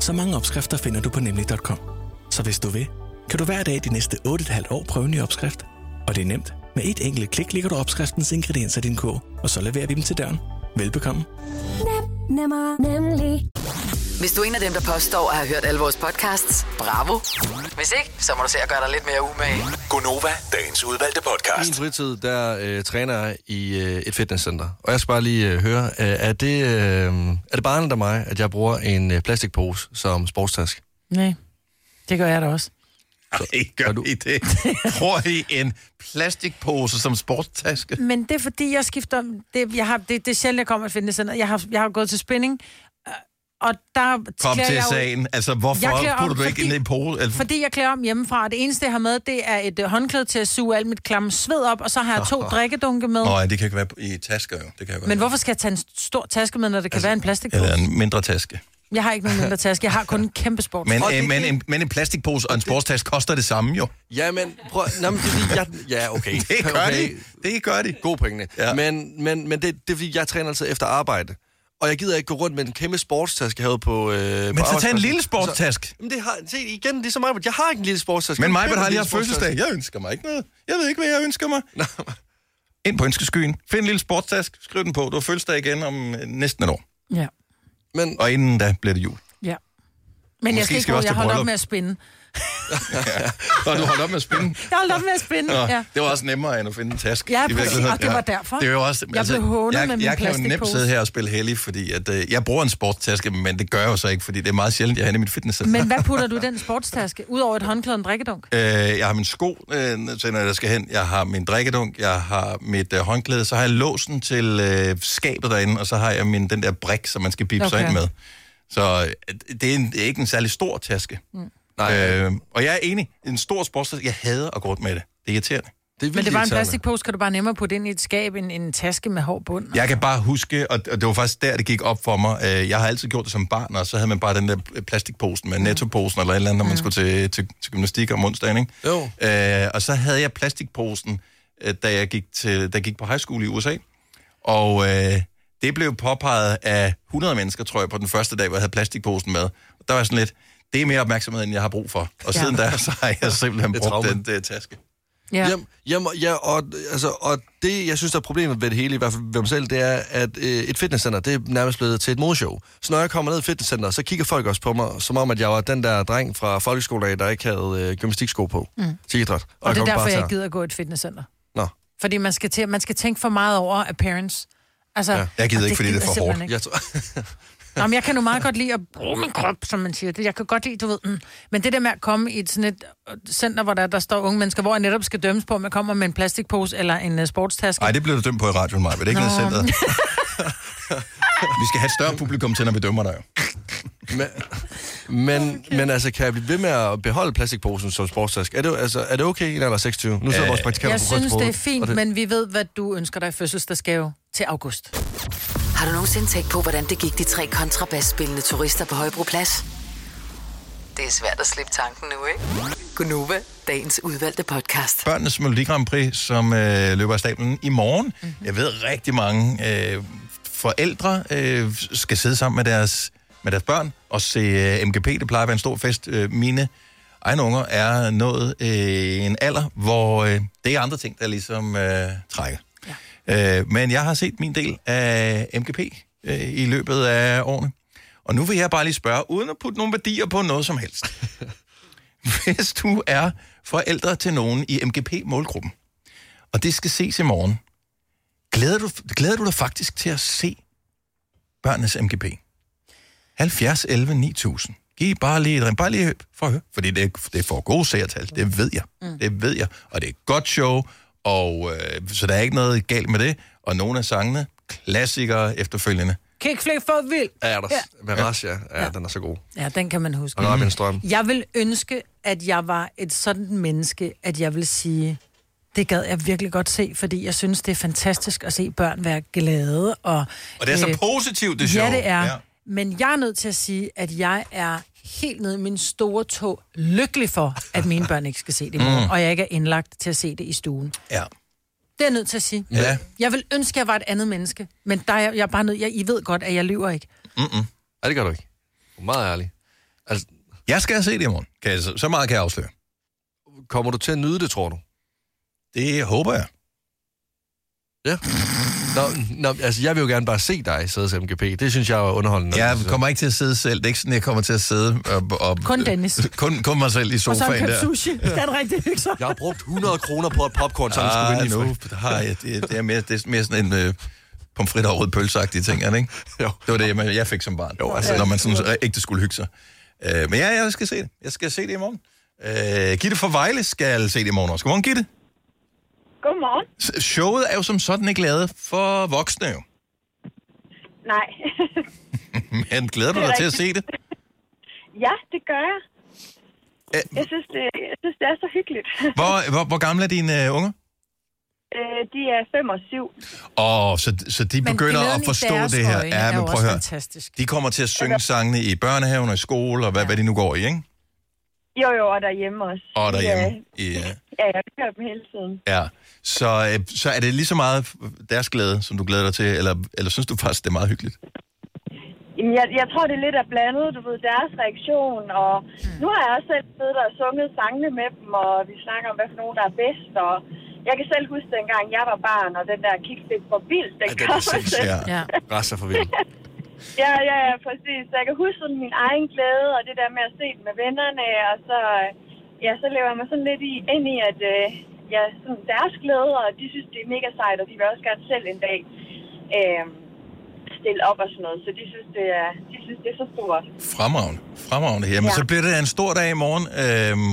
Så mange opskrifter finder du på nemlig.com. Så hvis du vil, kan du hver dag de næste 8,5 år prøve en ny opskrift. Og det er nemt. Med et enkelt klik ligger du opskriftens ingredienser i din kog, og så leverer vi dem til døren. Velbekomme.
Hvis du er en af dem, der påstår at have hørt alle vores podcasts, bravo. Hvis ikke, så må du se at gøre dig lidt mere umage.
Gonova, dagens udvalgte
I min
podcast.
fritid, der øh, træner jeg i øh, et fitnesscenter. Og jeg skal bare lige øh, høre, øh, er det, øh, er det barnet af mig, at jeg bruger en øh, plastikpose som sportstask?
Nej, det gør jeg da også.
Ej, gør du i det? Tror I en plastikpose som sportstaske?
Men det er fordi, jeg skifter... Det, jeg har, det, det er sjældent, jeg kommer i fitnesscenter. Jeg har, jeg har gået til spinning, øh, Og der
Kom
klæder
til
jeg jo-
sagen. Altså,
Jeg
hvorfor
klæder om,
putter du ikke
fordi-
ind i pose? Altså,
Fordi jeg klæder om hjemmefra. Det eneste, jeg har med, det er et øh, håndklæde til at suge alt mit klamme sved op, og så har jeg to drikkedunke med.
Nå, ja, det kan ikke være i tasker, jo. Det kan jo være.
Men hvorfor skal jeg tage en stor taske med, når det kan være en plastikpose?
Altså, Eller en mindre taske.
Jeg har ikke nogen mindre taske. Jeg har kun en kæmpe sports.
Men, øh, men, en, men en plastikpose og en sportstaske koster det samme, jo.
Ja, men prøv... Nå, men det er fordi, jeg... Ja, okay.
Det gør
okay.
de. Det gør de.
Gode pengene. Ja. Men, men, men det, det er fordi, jeg træner altid efter arbejde. Og jeg gider ikke gå rundt med en kæmpe sportstaske herude på... Øh,
Men så tag en lille sportstask.
Jamen, det har... Se, igen, det er så meget... Jeg har ikke en lille sportstaske.
Men
Jeg
mig
køber
har
en lille
lige haft fødselsdag.
sportstaske.
Jeg ønsker mig ikke noget. Jeg ved ikke, hvad jeg ønsker mig. Ind på ønskeskyen. Find en lille sportstask. Skriv den på. Du har fødselsdag igen om øh, næsten et år.
Ja.
Men... Og inden da bliver det jul.
Ja. Men
Måske
jeg skal
skal vi
ikke
også
jeg
til
holdt op
bryllup.
med at spinde.
Og du holdt op med at spinde.
Jeg holdt op med at spinde,
Nå,
ja.
Det var også nemmere end at finde en taske.
Ja,
i
præcis,
virkeligheden.
og det var derfor.
Det er jo også, altså,
Jeg blev hånet
jeg,
med min
Jeg kan jo nemt
plastikpose.
sidde her og spille heldig, fordi at, øh, jeg bruger en sportstaske, men det gør jeg jo så ikke, fordi det er meget sjældent, jeg har den i mit fitnesscenter.
Men hvad putter du i den sportstaske? Udover et håndklæde og en drikkedunk?
Øh, jeg har min sko, øh, til når jeg skal hen. Jeg har min drikkedunk, jeg har mit øh, håndklæde, så har jeg låsen til øh, skabet derinde, og så har jeg min, den der brik, som man skal bippe okay. sig
Okay.
ind med. Så øh, det, er en, det er ikke en særlig stor taske. Mm. Nej. Øh, og jeg er enig, en stor sportstaske, jeg hader at gå rundt med det. Det er irriterende.
Det er
Men det var en plastikpose, kan du bare nemmere putte ind i et skab end en taske med hård bund.
Jeg kan bare huske, og og det var faktisk der, det gik op for mig. øh, Jeg har altid gjort det som barn, og så havde man bare den der plastikposen
Mm.
med nettoposen eller et eller andet, når man skulle til, til, til gymnastik om onsdagen, ikke?
Jo.
Øh, og så havde jeg plastikposen, øh, da jeg gik, til, da jeg gik på high school i USA. Og øh, det blev påpeget af 100 mennesker, tror jeg, på den første dag, hvor jeg havde plastikposen med. Og der var jeg sådan lidt, det er mere opmærksomhed, end jeg har brug for. Og
Ja.
siden da, så har jeg simpelthen
Et
brugt
traume.
den der taske.
Ja. Jamen, jamen, ja, og, altså, og det, jeg synes, der er problemet ved det hele, i hvert fald ved mig selv, det er, at øh, et fitnesscenter, det er nærmest blevet til et modeshow. Så når jeg kommer ned i fitnesscenter, så kigger folk også på mig, som om, at jeg var den der dreng fra folkeskolen, der ikke havde øh, gymnastiksko på
Mm.
mm. til idræt.
Og, og det er
kom
derfor,
bare
jeg
til
ikke gider at gå i et fitnesscenter.
Nå.
Fordi man skal, til, man skal tænke for meget over appearance. Altså,
Ja.
Jeg gider
og
ikke, fordi det er
jeg
for
simpelthen
hårdt.
ikke.
Jeg tror,
Nå, men jeg kan jo meget godt lide at bruge min krop, som man siger. Det- Jeg kan godt lide, du ved. Mm. Men det der med at komme i et, sådan et øh, center, hvor der, der står unge mennesker, hvor jeg netop skal dømmes på, om jeg kommer med en plastikpose eller en uh, sportstaske.
Nej, det blev du dømt på i radioen, Maja. Det er ikke noget centret. Vi skal have et større publikum til, når vi dømmer dig. jo.
Men, men, okay. men altså, kan jeg blive ved med at beholde plastikposen som sportstask? Er det, altså, er det okay i en alder af 26? Nu sidder
Øh,
vores praktikant
Jeg
på
synes,
brystbordet,
det er fint,
og
det... men vi ved, hvad du ønsker dig i fødselsdagsgave til august.
Har du nogensinde tænkt på, hvordan det gik de tre kontrabasspillende turister på Højbroplads? Det er svært at slippe tanken nu, ikke? Gunova, dagens udvalgte podcast.
Børnenes Melodi Grand Prix, som øh, løber af stablen i morgen. Mm-hmm. Jeg ved, rigtig mange øh, forældre øh, skal sidde sammen med deres, med deres børn og se øh, MGP. Det plejer at være en stor fest. Øh, mine egne unger er nået øh, en alder, hvor øh, det er andre ting, der ligesom øh, trækker. Ja. Øh, men jeg har set min del af MGP øh, i løbet af årene. Og nu vil jeg bare lige spørge, uden at putte nogle værdier på noget som helst. hvis du er forældre til nogen i MGP-målgruppen, og det skal ses i morgen, glæder du, glæder du dig faktisk til at se børnenes MGP? 70, 11, 9000. Giv bare lige et ring, bare lige for at høre, fordi det, er- det får gode seertal, det ved jeg, mm. det ved jeg, og det er et godt show, og øh, så der er ikke noget galt med det, og nogle af sangene, klassikere efterfølgende.
Kickflip for vildt!
Er
Ja.
Med Rasha, ja, ja, den er så god.
Ja, den kan man huske.
Og Robin Strøm.
Jeg vil ønske, at jeg var et sådan menneske, at jeg vil sige, det gad jeg virkelig godt se, fordi jeg synes, det er fantastisk at se børn være glade. Og, øh,
Og det er så positivt, det show.
Ja, det er.
Ja.
Ja. Men jeg er nødt til at sige, at jeg er helt nede i min store tog lykkelig for, at mine børn ikke skal se det i morgen,
Mm.
mm. og jeg ikke er indlagt til at se det i stuen.
Ja.
Det er jeg nødt til at sige.
Ja.
Jeg vil ønske, at jeg var et andet menneske, men der er jeg, jeg er bare nødt, jeg, I ved godt, at jeg lyver ikke.
Mm-mm.
Nej, det gør du ikke. Du er meget ærlig. Altså,
jeg skal se det i morgen. Kan jeg, så, så meget kan jeg afsløre.
Kommer du til at nyde det, tror du?
Det håber jeg.
Ja. Nå, nå, altså, jeg vil jo gerne bare se dig sidde til MGP. Det synes jeg er underholdende.
Jeg kommer ikke til at sidde selv. Det er ikke sådan, jeg kommer til at sidde og... og
Kun Dennis.
Kun, kun mig selv i
Og så
sofaen
en
der.
købt sushi. Det er en rigtig hygge.
Jeg har brugt 100 kroner på et popcorn, så den skulle
Ah,
vinde i
nu har jeg, det, det, er mere, det er mere sådan en øh, pomfrit og rød pølseagtig ting, er det ikke?
Jo.
Det var det, jeg, jeg fik som barn. Jo,
altså.
Når man sådan ægte skulle hygge sig. Øh, men ja, jeg skal se det. Jeg skal se det i morgen. Øh, Gitte fra Vejle skal se det i morgen også. Godmorgen, Gitte.
Godmorgen.
S- Showet er jo som sådan ikke lavet for voksne, jo.
Nej.
Men glæder du
Det er
dig til at se
rigtigt.
det?
Ja, det gør jeg. Jeg synes, det, jeg synes, det er så hyggeligt.
Hvor, hvor, hvor gamle er dine øh, unger?
Øh, de er 5 og 7.
Åh, oh, så, så de
Men
begynder
glæden
at
i
forstå
deres
det her.
øjne er jo også fantastisk.
De kommer til at synge sangene i børnehaven og i skole, og hvad, ja. hvad de nu går i, ikke?
Jo, jo, og derhjemme også.
Og derhjemme.
Ja,
Ja.
ja jeg hører dem hele tiden.
ja. Så, øh, så er det lige så meget deres glæde, som du glæder dig til, eller, eller synes du faktisk, det er meget hyggeligt?
Jamen, jeg, jeg tror, det er lidt af blandet, du ved, deres reaktion, og nu har jeg også selv siddet og sunget sangene med dem, og vi snakker om, hvad for nogen, der er bedst, og jeg kan selv huske dengang, jeg var barn, og den der kickflip for vildt, den
den
kom
er sindssyg.
selv.
Ja. Rasser for vildt.
Ja, ja, ja, præcis. Så jeg kan huske sådan min egen glæde, og det der med at se den med vennerne, og så, øh, ja, så lever jeg mig sådan lidt i, ind i, at øh, ja, sådan deres glæde, og de synes, det er mega sejt, og de vil også gerne selv en dag øh, stille op og sådan noget. Så de synes, det er, de synes, det er så stort.
Fremragende. Fremragende. Jamen, ja.
Ja.
så bliver det da en stor dag i morgen. Øhm,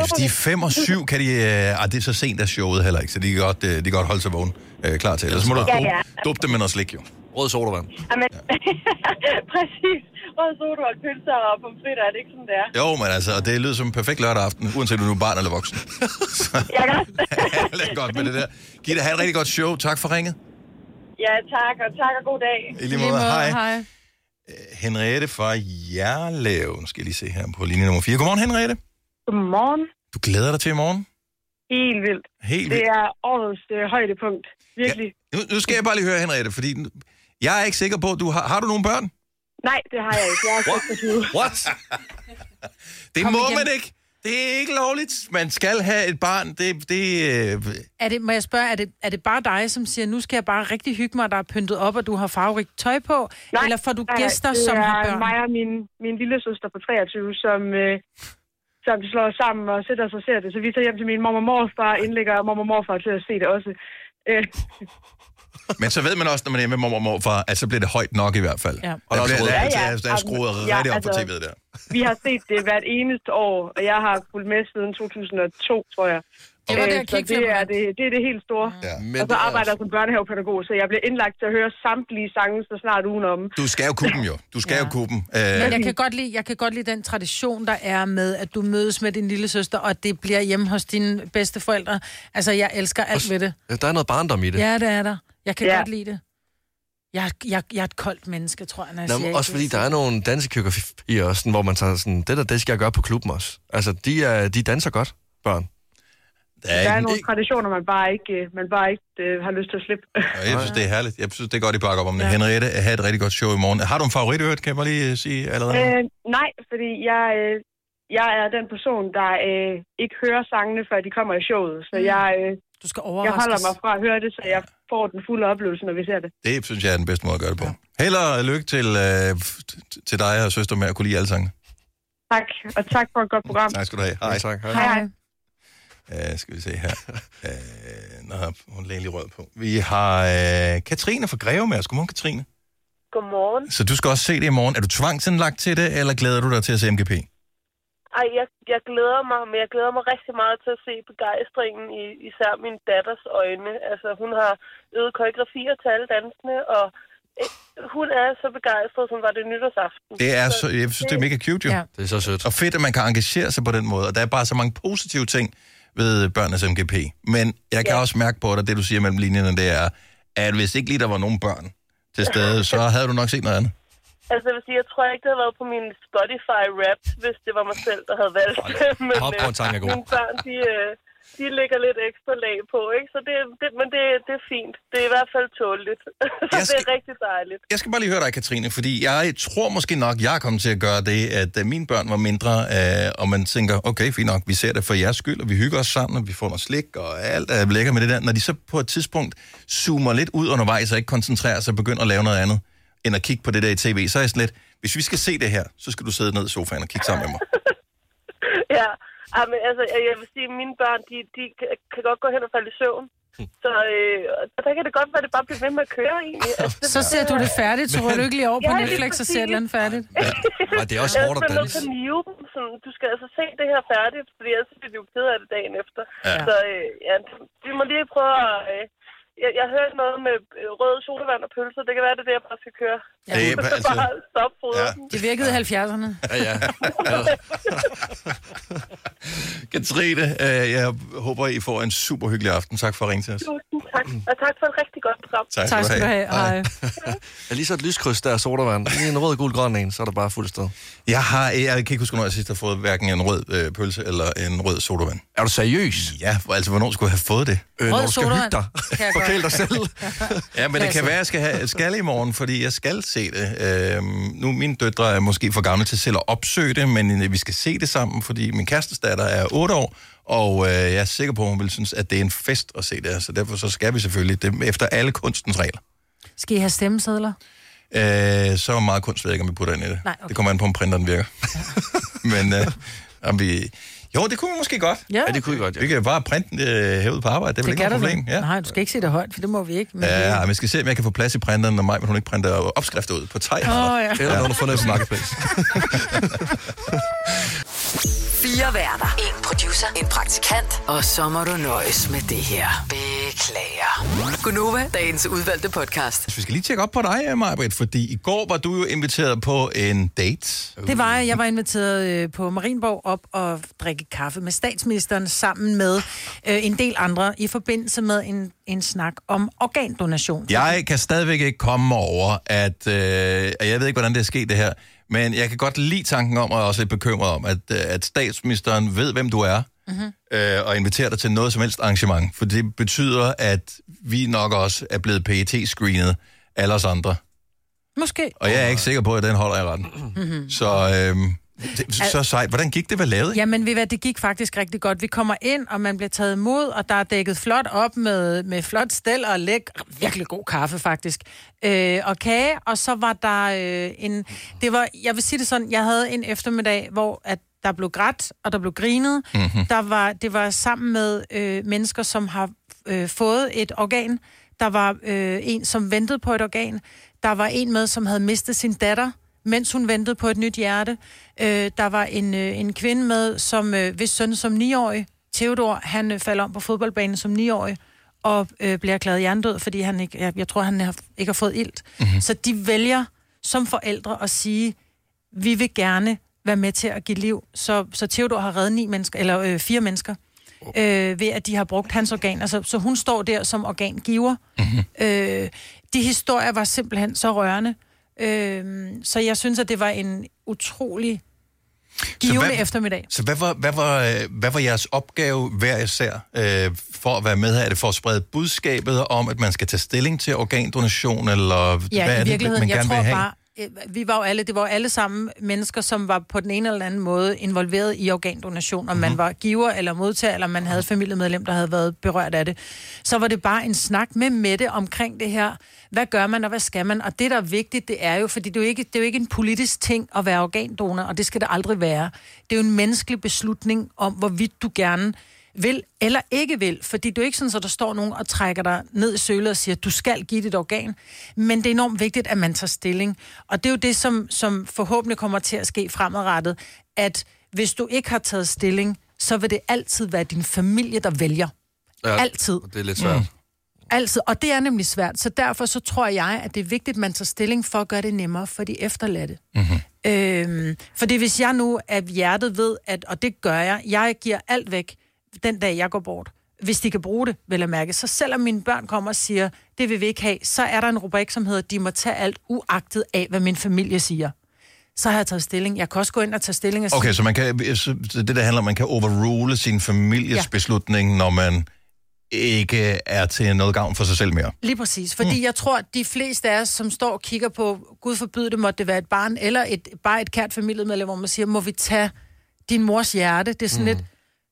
hvis de er 5 og 7, kan de... Øh, ah, det er så sent, at showet heller ikke, så de kan godt, øh, de kan godt holde sig vågen øh, klar til. Ellers må du
Ja,
dope,
ja.
dope dem med noget slik, jo. Rød sodavand.
Jamen, præcis. Rød sodavand, pølser og pomfritter, er det ikke sådan, det er?
Jo, men altså, og det lyder som en perfekt lørdag aften, uanset om du er barn eller voksen.
Jeg kan også.
Alt er godt med det der. Gitte, have et rigtig godt show. Tak for ringet.
Ja, tak, og tak og god dag.
I lige måde. Hej. Henriette fra Jerlev. Nu skal jeg lige se her på linje nummer 4. Godmorgen, Henriette.
Godmorgen.
Du glæder dig til i morgen.
Helt vildt.
Helt
det
vildt.
er årets øh, højdepunkt. Virkelig. Ja.
Nu, nu skal jeg bare lige høre, Henriette, fordi nu- jeg er ikke sikker på, du har, har du nogen børn?
Nej, det har jeg ikke. Jeg er 26.
What? det
Kom
må
igen.
man ikke. Det er ikke lovligt. Man skal have et barn. Det, det, øh,
Er det, må jeg spørge, er det, er det bare dig, som siger, nu skal jeg bare rigtig hygge mig, og der er pyntet op, og du har farverigt tøj på? Nej, eller får du
Nej, øh,
gæster, som har
Det er
børn?
mig og min, min lille søster på 23, som, øh, som slår os sammen og sætter sig og ser det. Så vi tager hjem til min mor og morfar, indlægger mor og morfar til at se det også. Øh,
men så ved man også, når man er med mor og morfar, at så bliver det højt nok i hvert fald.
Ja.
Og der, der, bliver, der,
Ja,
der,
ja.
der, der er skruet
Ja,
ja, rigtig op på
altså-
tv'et der.
vi har set det hvert eneste år, og jeg har fulgt med siden 2002, tror jeg.
Det var
Øh,
der,
så det
kickflipperen
er det, det er det helt store. Ja,
men
og så
øh,
arbejder jeg som børnehavepædagog, så jeg bliver indlagt til at høre samtlige sange så snart ugen om.
Du skal jo kunne dem jo. Du skal ja. jo kunne dem. Øh,
Men jeg kan, godt lide, jeg kan godt lide den tradition, der er med, at du mødes med din lille søster, og at det bliver hjemme hos dine bedsteforældre. Altså, jeg elsker alt ved det.
Ja, Der er noget barndom i det.
Ja, det er der. Jeg kan
Ja.
ja. godt lide det. Jeg, jeg, jeg er et koldt menneske, tror jeg, når jeg
Nå,
siger
men
ikke
også
det.
fordi der er nogle dansekøkker i også, sådan, hvor man tager sådan, det der, det skal jeg gøre på klubben også. Altså, de, er, de danser godt, børn.
Der
Der er nogle traditioner, man bare ikke, øh, man bare ikke øh, har lyst til at slippe.
Og jeg synes, det er herligt. Jeg synes, det er godt, I bakker op om det. Ja. Henriette, have et rigtig godt show i morgen. Har du en favorit, kan jeg bare lige øh, sige allerede? nu?
Øh, nej, fordi jeg, øh, jeg er den person, der øh, ikke hører sangene, før de kommer i showet. Så
Mm.
jeg, øh,
du skal
jeg holder
overraskes.
mig fra at høre det, så jeg får den fulde oplevelse, når vi ser det.
Det synes jeg er den bedste måde at gøre det på. Held og lykke til, øh, f- t- til dig og søster med at kunne lide alle sange.
Tak, og tak for et godt program.
Tak skal du have. Hej.
tak.
Hej, hej.
Uh, skal vi se her. Uh, nå, hun lagde lige rød på. Vi har uh, Katrine fra Greve med os. Godmorgen, Katrine.
Godmorgen.
Så du skal også se det i morgen. Er du tvangsindlagt til det, eller glæder du dig til at se MGP?
Ej, jeg, jeg glæder mig, men jeg glæder mig rigtig meget til at se begejstringen i især min datters øjne. Altså, hun har øvet koreografier til alle dansene, og øh, hun er så begejstret, som var det nytårsaften.
Det er så, jeg synes, det er mega cute, jo.
Ja.
Det er så sødt.
Og fedt, at man kan engagere sig på den måde. Og der er bare så mange positive ting ved børnenes MGP. Men jeg kan ja. også mærke på dig, det du siger mellem linjerne, det er, at hvis ikke lige der var nogen børn til stede, så havde du nok set noget andet.
Altså, jeg vil sige, jeg tror ikke, det havde været på min Spotify-rap, hvis det var mig selv, der havde valgt det. Men
Hop på en sang er god.
øh, mine børn, de, øh, de lægger lidt ekstra lag på, ikke? Så det, det, men det, det er fint. Det er i hvert fald tåligt. Skal... det er rigtig dejligt.
Jeg skal bare lige høre dig, Katrine, fordi jeg tror måske nok, jeg er kommet til at gøre det, at øh, mine børn var mindre, øh, og man tænker, okay, fint nok, vi ser det for jeres skyld, og vi hygger os sammen, og vi får noget slik, og alt er lækker med det der. Når de så på et tidspunkt zoomer lidt ud undervejs, og ikke koncentrerer sig og begynder at lave noget andet, end at kigge på det der i tv, så er jeg sådan lidt, hvis vi skal se det her, så skal du sidde ned i sofaen og kigge sammen med mig.
Ja, Ej, men altså, jeg jeg vil sige, at mine børn, de, de kan- kan godt gå hen og falde i søvn. Så øh, og der kan det godt være, at det bare bliver ved med at køre, egentlig. Altså, det-
Så ser du det færdigt, så ruller du ikke lige over på
Ja, lige
Netflix og ser et eller andet færdigt.
Og det er også
Jeg
hårdt
er
at
nødt
danse.
til at nive dem. Sådan, du skal altså se det her færdigt, fordi ellers bliver de jo ked af det dagen efter.
Ja.
Så øh, ja, vi må lige prøve at... Øh, jeg, jeg hørte noget med øh, røde sodavand og pølser. Det kan være, det er det, jeg bare skal køre.
Ja. Det er bare- altså-
bare stop ja.
Det virkede i 70'erne.
Ja, ja. Katrine, øh, jeg håber, I får en super hyggelig aften. Tak for at ringe til os.
Tusind tak. Og tak for et rigtig godt program.
Tak skal Tak skal du have. du have. Hej.
Er lige så et lyskryds der er sodavand. Lige en rød, gul, grøn en, så er der bare fuldt sted.
Jeg har, jeg kan ikke huske, hvornår jeg sidst har fået hverken en rød øh, pølse eller en rød sodavand. Er du seriøs? Ja, for, altså hvornår skulle jeg have fået det?
Øh, når Rød du skal hygge sodavand. dig.
Kan jeg
Forkæl
godt.
dig selv.
Ja, men det kan
Klasse.
være, at jeg skal, have, skal i morgen, fordi jeg skal se det. Øhm, nu, mine døtre er måske for gamle til selv at opsøge det, men øh, vi skal se det sammen, fordi min kærestes datter er 8 år, og øh, jeg er sikker på, at hun vil synes, at det er en fest at se det her, så derfor så skal vi selvfølgelig det efter alle kunstens regler.
Skal I have stemmesedler?
Øh, så meget kunst ved jeg ikke, om vi putter ind i det.
Nej, okay.
Det kommer an på, om printeren virker. men øh, om vi... Jo, det kunne vi måske godt.
Ja.
det kunne vi godt, ja. Vi kan bare printe den øh, herude på arbejde, det er vel ikke
kan
noget
du
problem.
vel. Nej, du skal ikke sige det højt, for det må vi ikke. Men
Ja, men jeg skal se, om jeg kan få plads i printeren, når mig, men hun ikke printer opskrifter ud på tegn.
Åh, ja.
Eller når du får noget på marketplace.
Fire værter. En producer. En praktikant. Og så må du nøjes med det her. Beklager. Gunova, dagens udvalgte podcast.
Så vi skal lige tjekke op på dig, Marbet, fordi i går var du jo inviteret på en date.
Det var jeg. Jeg var inviteret øh, på Marienborg op og drikke kaffe med statsministeren sammen med øh, en del andre i forbindelse med en, en snak om organdonation.
Jeg kan stadigvæk ikke komme over, at... Øh, og jeg ved ikke, hvordan det er sket, det her. Men jeg kan godt lide tanken om, og er også lidt bekymret om, at, øh, at statsministeren ved, hvem du er,
Mm-hmm.
øh, og inviterer dig til noget som helst arrangement. For det betyder, at vi nok også er blevet pet screenet alle os andre.
Måske.
Og jeg er ikke sikker på, at den holder i retten.
Mhm.
Så, øhm, det, så sejt. Hvordan gik det, hvad lavede I?
Jamen, ved I hvad, det gik faktisk rigtig godt. Vi kommer ind, og man bliver taget imod, og der er dækket flot op med, med flot stel og læk. Virkelig god kaffe, faktisk. Øh, og kage, og så var der øh, en... Det var, jeg vil sige det sådan, jeg havde en eftermiddag, hvor at der blev grædt, og der blev grinet.
Mhm.
Mm-hmm. Der var, det var sammen med øh, mennesker, som har øh, fået et organ. Der var øh, en, som ventede på et organ. Der var en med, som havde mistet sin datter, mens hun ventede på et nyt hjerte. Øh, der var en, øh, en kvinde med, som øh, hvis søn som 9-årig, Theodor, han øh, falder om på fodboldbanen som 9-årig og øh, bliver erklæret hjernedød, fordi han ikke, jeg, jeg tror, han har, ikke har fået ilt. Mm-hmm. Så de vælger som forældre at sige, vi vil gerne være med til at give liv. Så, så Theodor har reddet ni mennesker, eller øh, fire mennesker, øh, ved at de har brugt hans organer. Så, så hun står der som organgiver. Mm-hmm. Øh, de historier var simpelthen så rørende. Øh, så jeg synes, at det var en utrolig givende
hvad-
eftermiddag.
Så hvad var, hvad, var, øh, hvad var jeres opgave hver især øh, for at være med her? Er det for at sprede budskabet om, at man skal tage stilling til organdonation, eller
Ja,
hvad er
i
det, man
virkeligheden. jeg
gerne
tror
vil have?
bare, øh, vi var jo alle, det var jo alle sammen mennesker, som var på den ene eller anden måde involveret i organdonation, om
Mhm.
man var giver eller modtager, eller om man havde et familiemedlem, der havde været berørt af det. Så var det bare en snak med Mette omkring det her. Hvad gør man, og hvad skal man? Og det, der er vigtigt, det er jo, fordi det er jo ikke, det er jo ikke en politisk ting at være organdonor, og det skal det aldrig være. Det er jo en menneskelig beslutning om, hvorvidt du gerne vil eller ikke vil, fordi du er ikke sådan, at der står nogen og trækker dig ned i sølet og siger, du skal give dit organ, men det er enormt vigtigt, at man tager stilling. Og det er jo det, som, som forhåbentlig kommer til at ske fremadrettet, at hvis du ikke har taget stilling, så vil det altid være din familie, der vælger. Ja, Altid.
Det er lidt svært. Mm.
Altid, og det er nemlig svært, så derfor så tror jeg, at det er vigtigt, at man tager stilling for at gøre det nemmere for de efterladte.
Mm-hmm.
Øhm, fordi hvis jeg nu af hjertet ved, at, og det gør jeg, jeg giver alt væk den dag, jeg går bort, hvis de kan bruge det, vel at mærke. Så selvom mine børn kommer og siger, det vil vi ikke have, så er der en rubrik, som hedder, de må tage alt uagtet af, hvad min familie siger. Så har jeg taget stilling. Jeg kan også gå ind og tage stilling og sige,
Okay, så, man kan, så det der handler om, at man kan overrule sin families
Ja.
ja. beslutning, når man ikke er til noget gavn for sig selv mere.
Lige præcis, fordi mm. jeg tror, at de fleste af os, som står og kigger på, gud forbyde det, måtte det være et barn, eller et, bare et kært familiemedlem, hvor man siger, må vi tage din mors hjerte? Det er sådan mm. lidt,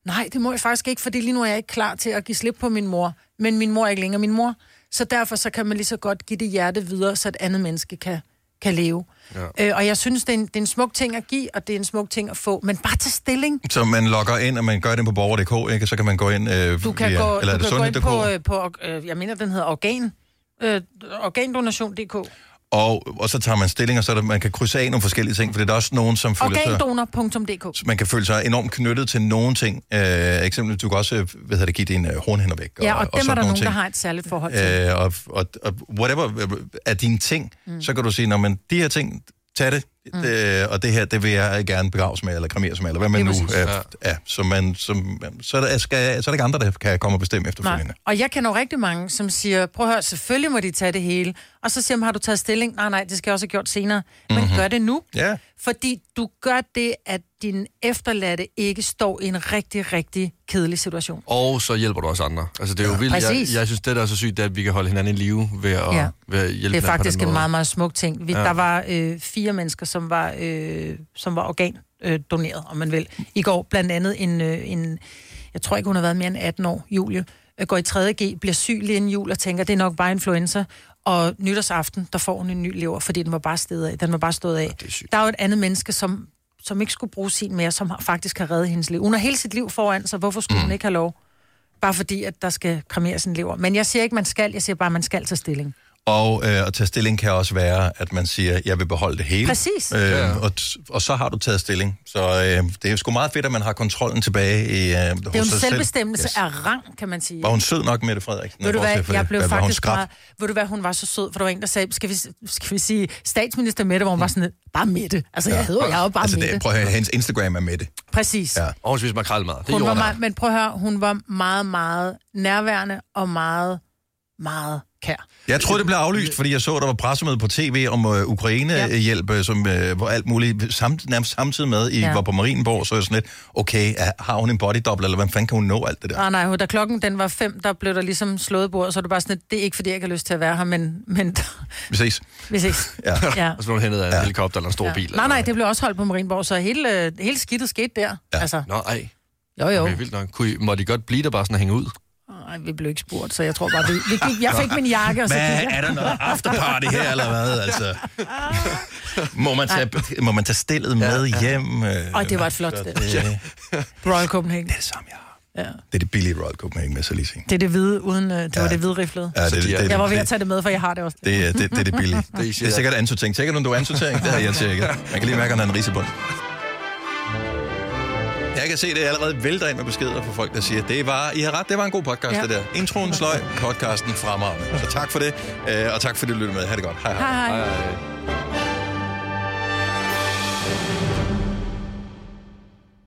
nej, det må jeg faktisk ikke, fordi lige nu er jeg ikke klar til at give slip på min mor, men min mor er ikke længere min mor, så derfor så kan man lige så godt give det hjerte videre, så et andet menneske kan, kan leve. Ja. Øh, og jeg synes, det er, en, det er en smuk ting at give, og det er en smuk ting at få, men bare tage stilling.
Så man logger ind, og man gør det på borger.dk, ikke? Og så kan man gå ind... Øh,
Du kan gå,
eller er
du
det
kan gå ind
sundhed.dk?
på, øh, på øh, jeg mener, den hedder organ, øh, organdonation.dk.
Og, og så tager man stilling, og så er der, man kan krydse af nogle forskellige ting, for det er der også nogen, som føler sig...
Organdonor.dk.
Man kan føle sig enormt knyttet til nogen ting. Øh, eksempelvis, du kan også øh, hvad hedder det, give dine øh, hornhænder væk.
Ja, og, dem er
sådan
der
nogle
nogen,
ting.
der har et særligt forhold til.
Øh, og, og, og whatever øh, er dine ting,
Mm.
mm. så kan du sige, når man de her ting, tag det,
Mm.
mm. øh, og det her, det vil jeg gerne begraves med, eller kremeres med, eller hvad man nu...
Lige
Øh,
præcis.
ja. så, man, så, så, er der, skal, så er der ikke andre, der kan komme og bestemme efterfølgende.
Nej. Og jeg kender jo rigtig mange, som siger, prøv at høre, selvfølgelig må de tage det hele. Og så siger man, har du taget stilling? Nej, nej, det skal jeg også have gjort senere. Men mm-hmm.
Mhm.
gør det nu.
Ja.
Fordi du gør det, at din efterladte ikke står i en rigtig, rigtig kedelig situation.
Og så hjælper du også andre. Altså, det er jo ja, vildt. Jeg,
Præcis.
jeg synes, det der er så sygt, det er, at vi kan holde hinanden i live ved at,
Ja.
ja. ved at hjælpe
det er
hinanden
faktisk
på den
en
måde.
meget, meget smuk ting. Vi, ja.
Ja.
Der var øh, fire mennesker, som var, øh, som var organdoneret, øh, doneret, om man vil. I går blandt andet en, øh, en, jeg tror ikke, hun har været mere end 18 år, Julie, øh, går i 3.G, bliver syg lige inden jul og tænker, det er nok bare influenza. Og nytårsaften, der får hun en ny lever, fordi den var bare stedet af. Den var bare stået af. Ja, der er jo et andet menneske, som, som ikke skulle bruge sin mere, som har, faktisk har reddet hendes liv. Hun har hele sit liv foran sig, hvorfor skulle mm. hun ikke have lov? Bare fordi, at der skal kremeres en lever. Men jeg siger ikke, man skal. Jeg siger bare, man skal tage stilling.
Og øh, at tage stilling kan også være, at man siger, jeg vil beholde det hele.
Præcis.
Øh, og, t- og så har du taget stilling. Så øh, det er sgu meget fedt, at man har kontrollen tilbage i, øh, hos
Det er jo
sig
en
selv.
selvbestemmelse
Yes.
yes. af rang, kan man sige.
Var hun sød nok, Mette Frederik?
Ved du hvad, jeg blev
var hun
faktisk
skrab?
bare... Ved du hvad, hun var så sød, for der var en, der sagde, skal vi, skal vi sige statsminister Mette, hvor hun var sådan, lidt, bare Mette. Altså, jeg hedder jeg er jo bare
altså,
Mette.
Det, prøv at høre, hendes Instagram er Mette.
Præcis.
Ja.
Og hun spiser makrelmad. Det
Hun var meget, men prøv at høre, hun var meget, meget nærværende og meget, meget kær.
Jeg tror, det blev aflyst, fordi jeg så, der var pressemøde på tv om øh, Ukraine-hjælp, øh, som øh, hvor alt muligt samt, nærmest samtidig med, I
Ja.
ja. var på Marienborg, så jeg sådan lidt, okay, er, har hun en bodydobbler, eller hvordan fanden kan hun nå alt det der?
Ah, nej, hun- da klokken den var fem, der blev der ligesom slået bord, så er det bare sådan, lidt, det er ikke fordi, jeg ikke har lyst til at være her, men, men
Vi ses.
hvis ikke.
Ja.
Ja.
Og så blev hun hentet af en ja. helikopter eller en stor ja. bil.
Nej, nej, det blev også holdt på Marienborg, så hele, øh, hele skidtet skete der. Ja. Altså,
Nå, ej.
Jo, jo.
Okay, vildt nok. Kunne I, måtte I godt blive der bare sådan og hænge ud?
nej, vi blev ikke spurgt, så jeg tror bare, vi, vi gik, jeg fik min jakke, og så
Hvad,
gik jeg.
er der noget afterparty her, eller hvad? Altså, må, man tage, må man tage stillet med hjem? Øh,
Og det var et flot sted.
Det,
Ja. Royal Copenhagen. Det er
det samme, jeg har.
Ja.
det er det billige Royal Copenhagen med, så lige sige.
Det er det hvide, uden, øh, det var det hvide riflede.
Ja, det- det- det-
jeg var ved at
det-
tage det med, for jeg har det også.
Det, er- det, det er det billige. Det er, det er sikkert ansotering. Tjekker du, om du er ansotering? Det har jeg tjekket. Man kan lige mærke, at han har en risebund. Jeg kan se, det er allerede vælter ind med beskeder fra folk, der siger, det var, I har ret, det var en god podcast,
Ja.
ja. det der. Introen sløj, podcasten fremragende. Så tak for det, øh, og tak fordi du lyttede med. Ha' det godt. Hej hej.
Hej, hej.
hej, hej.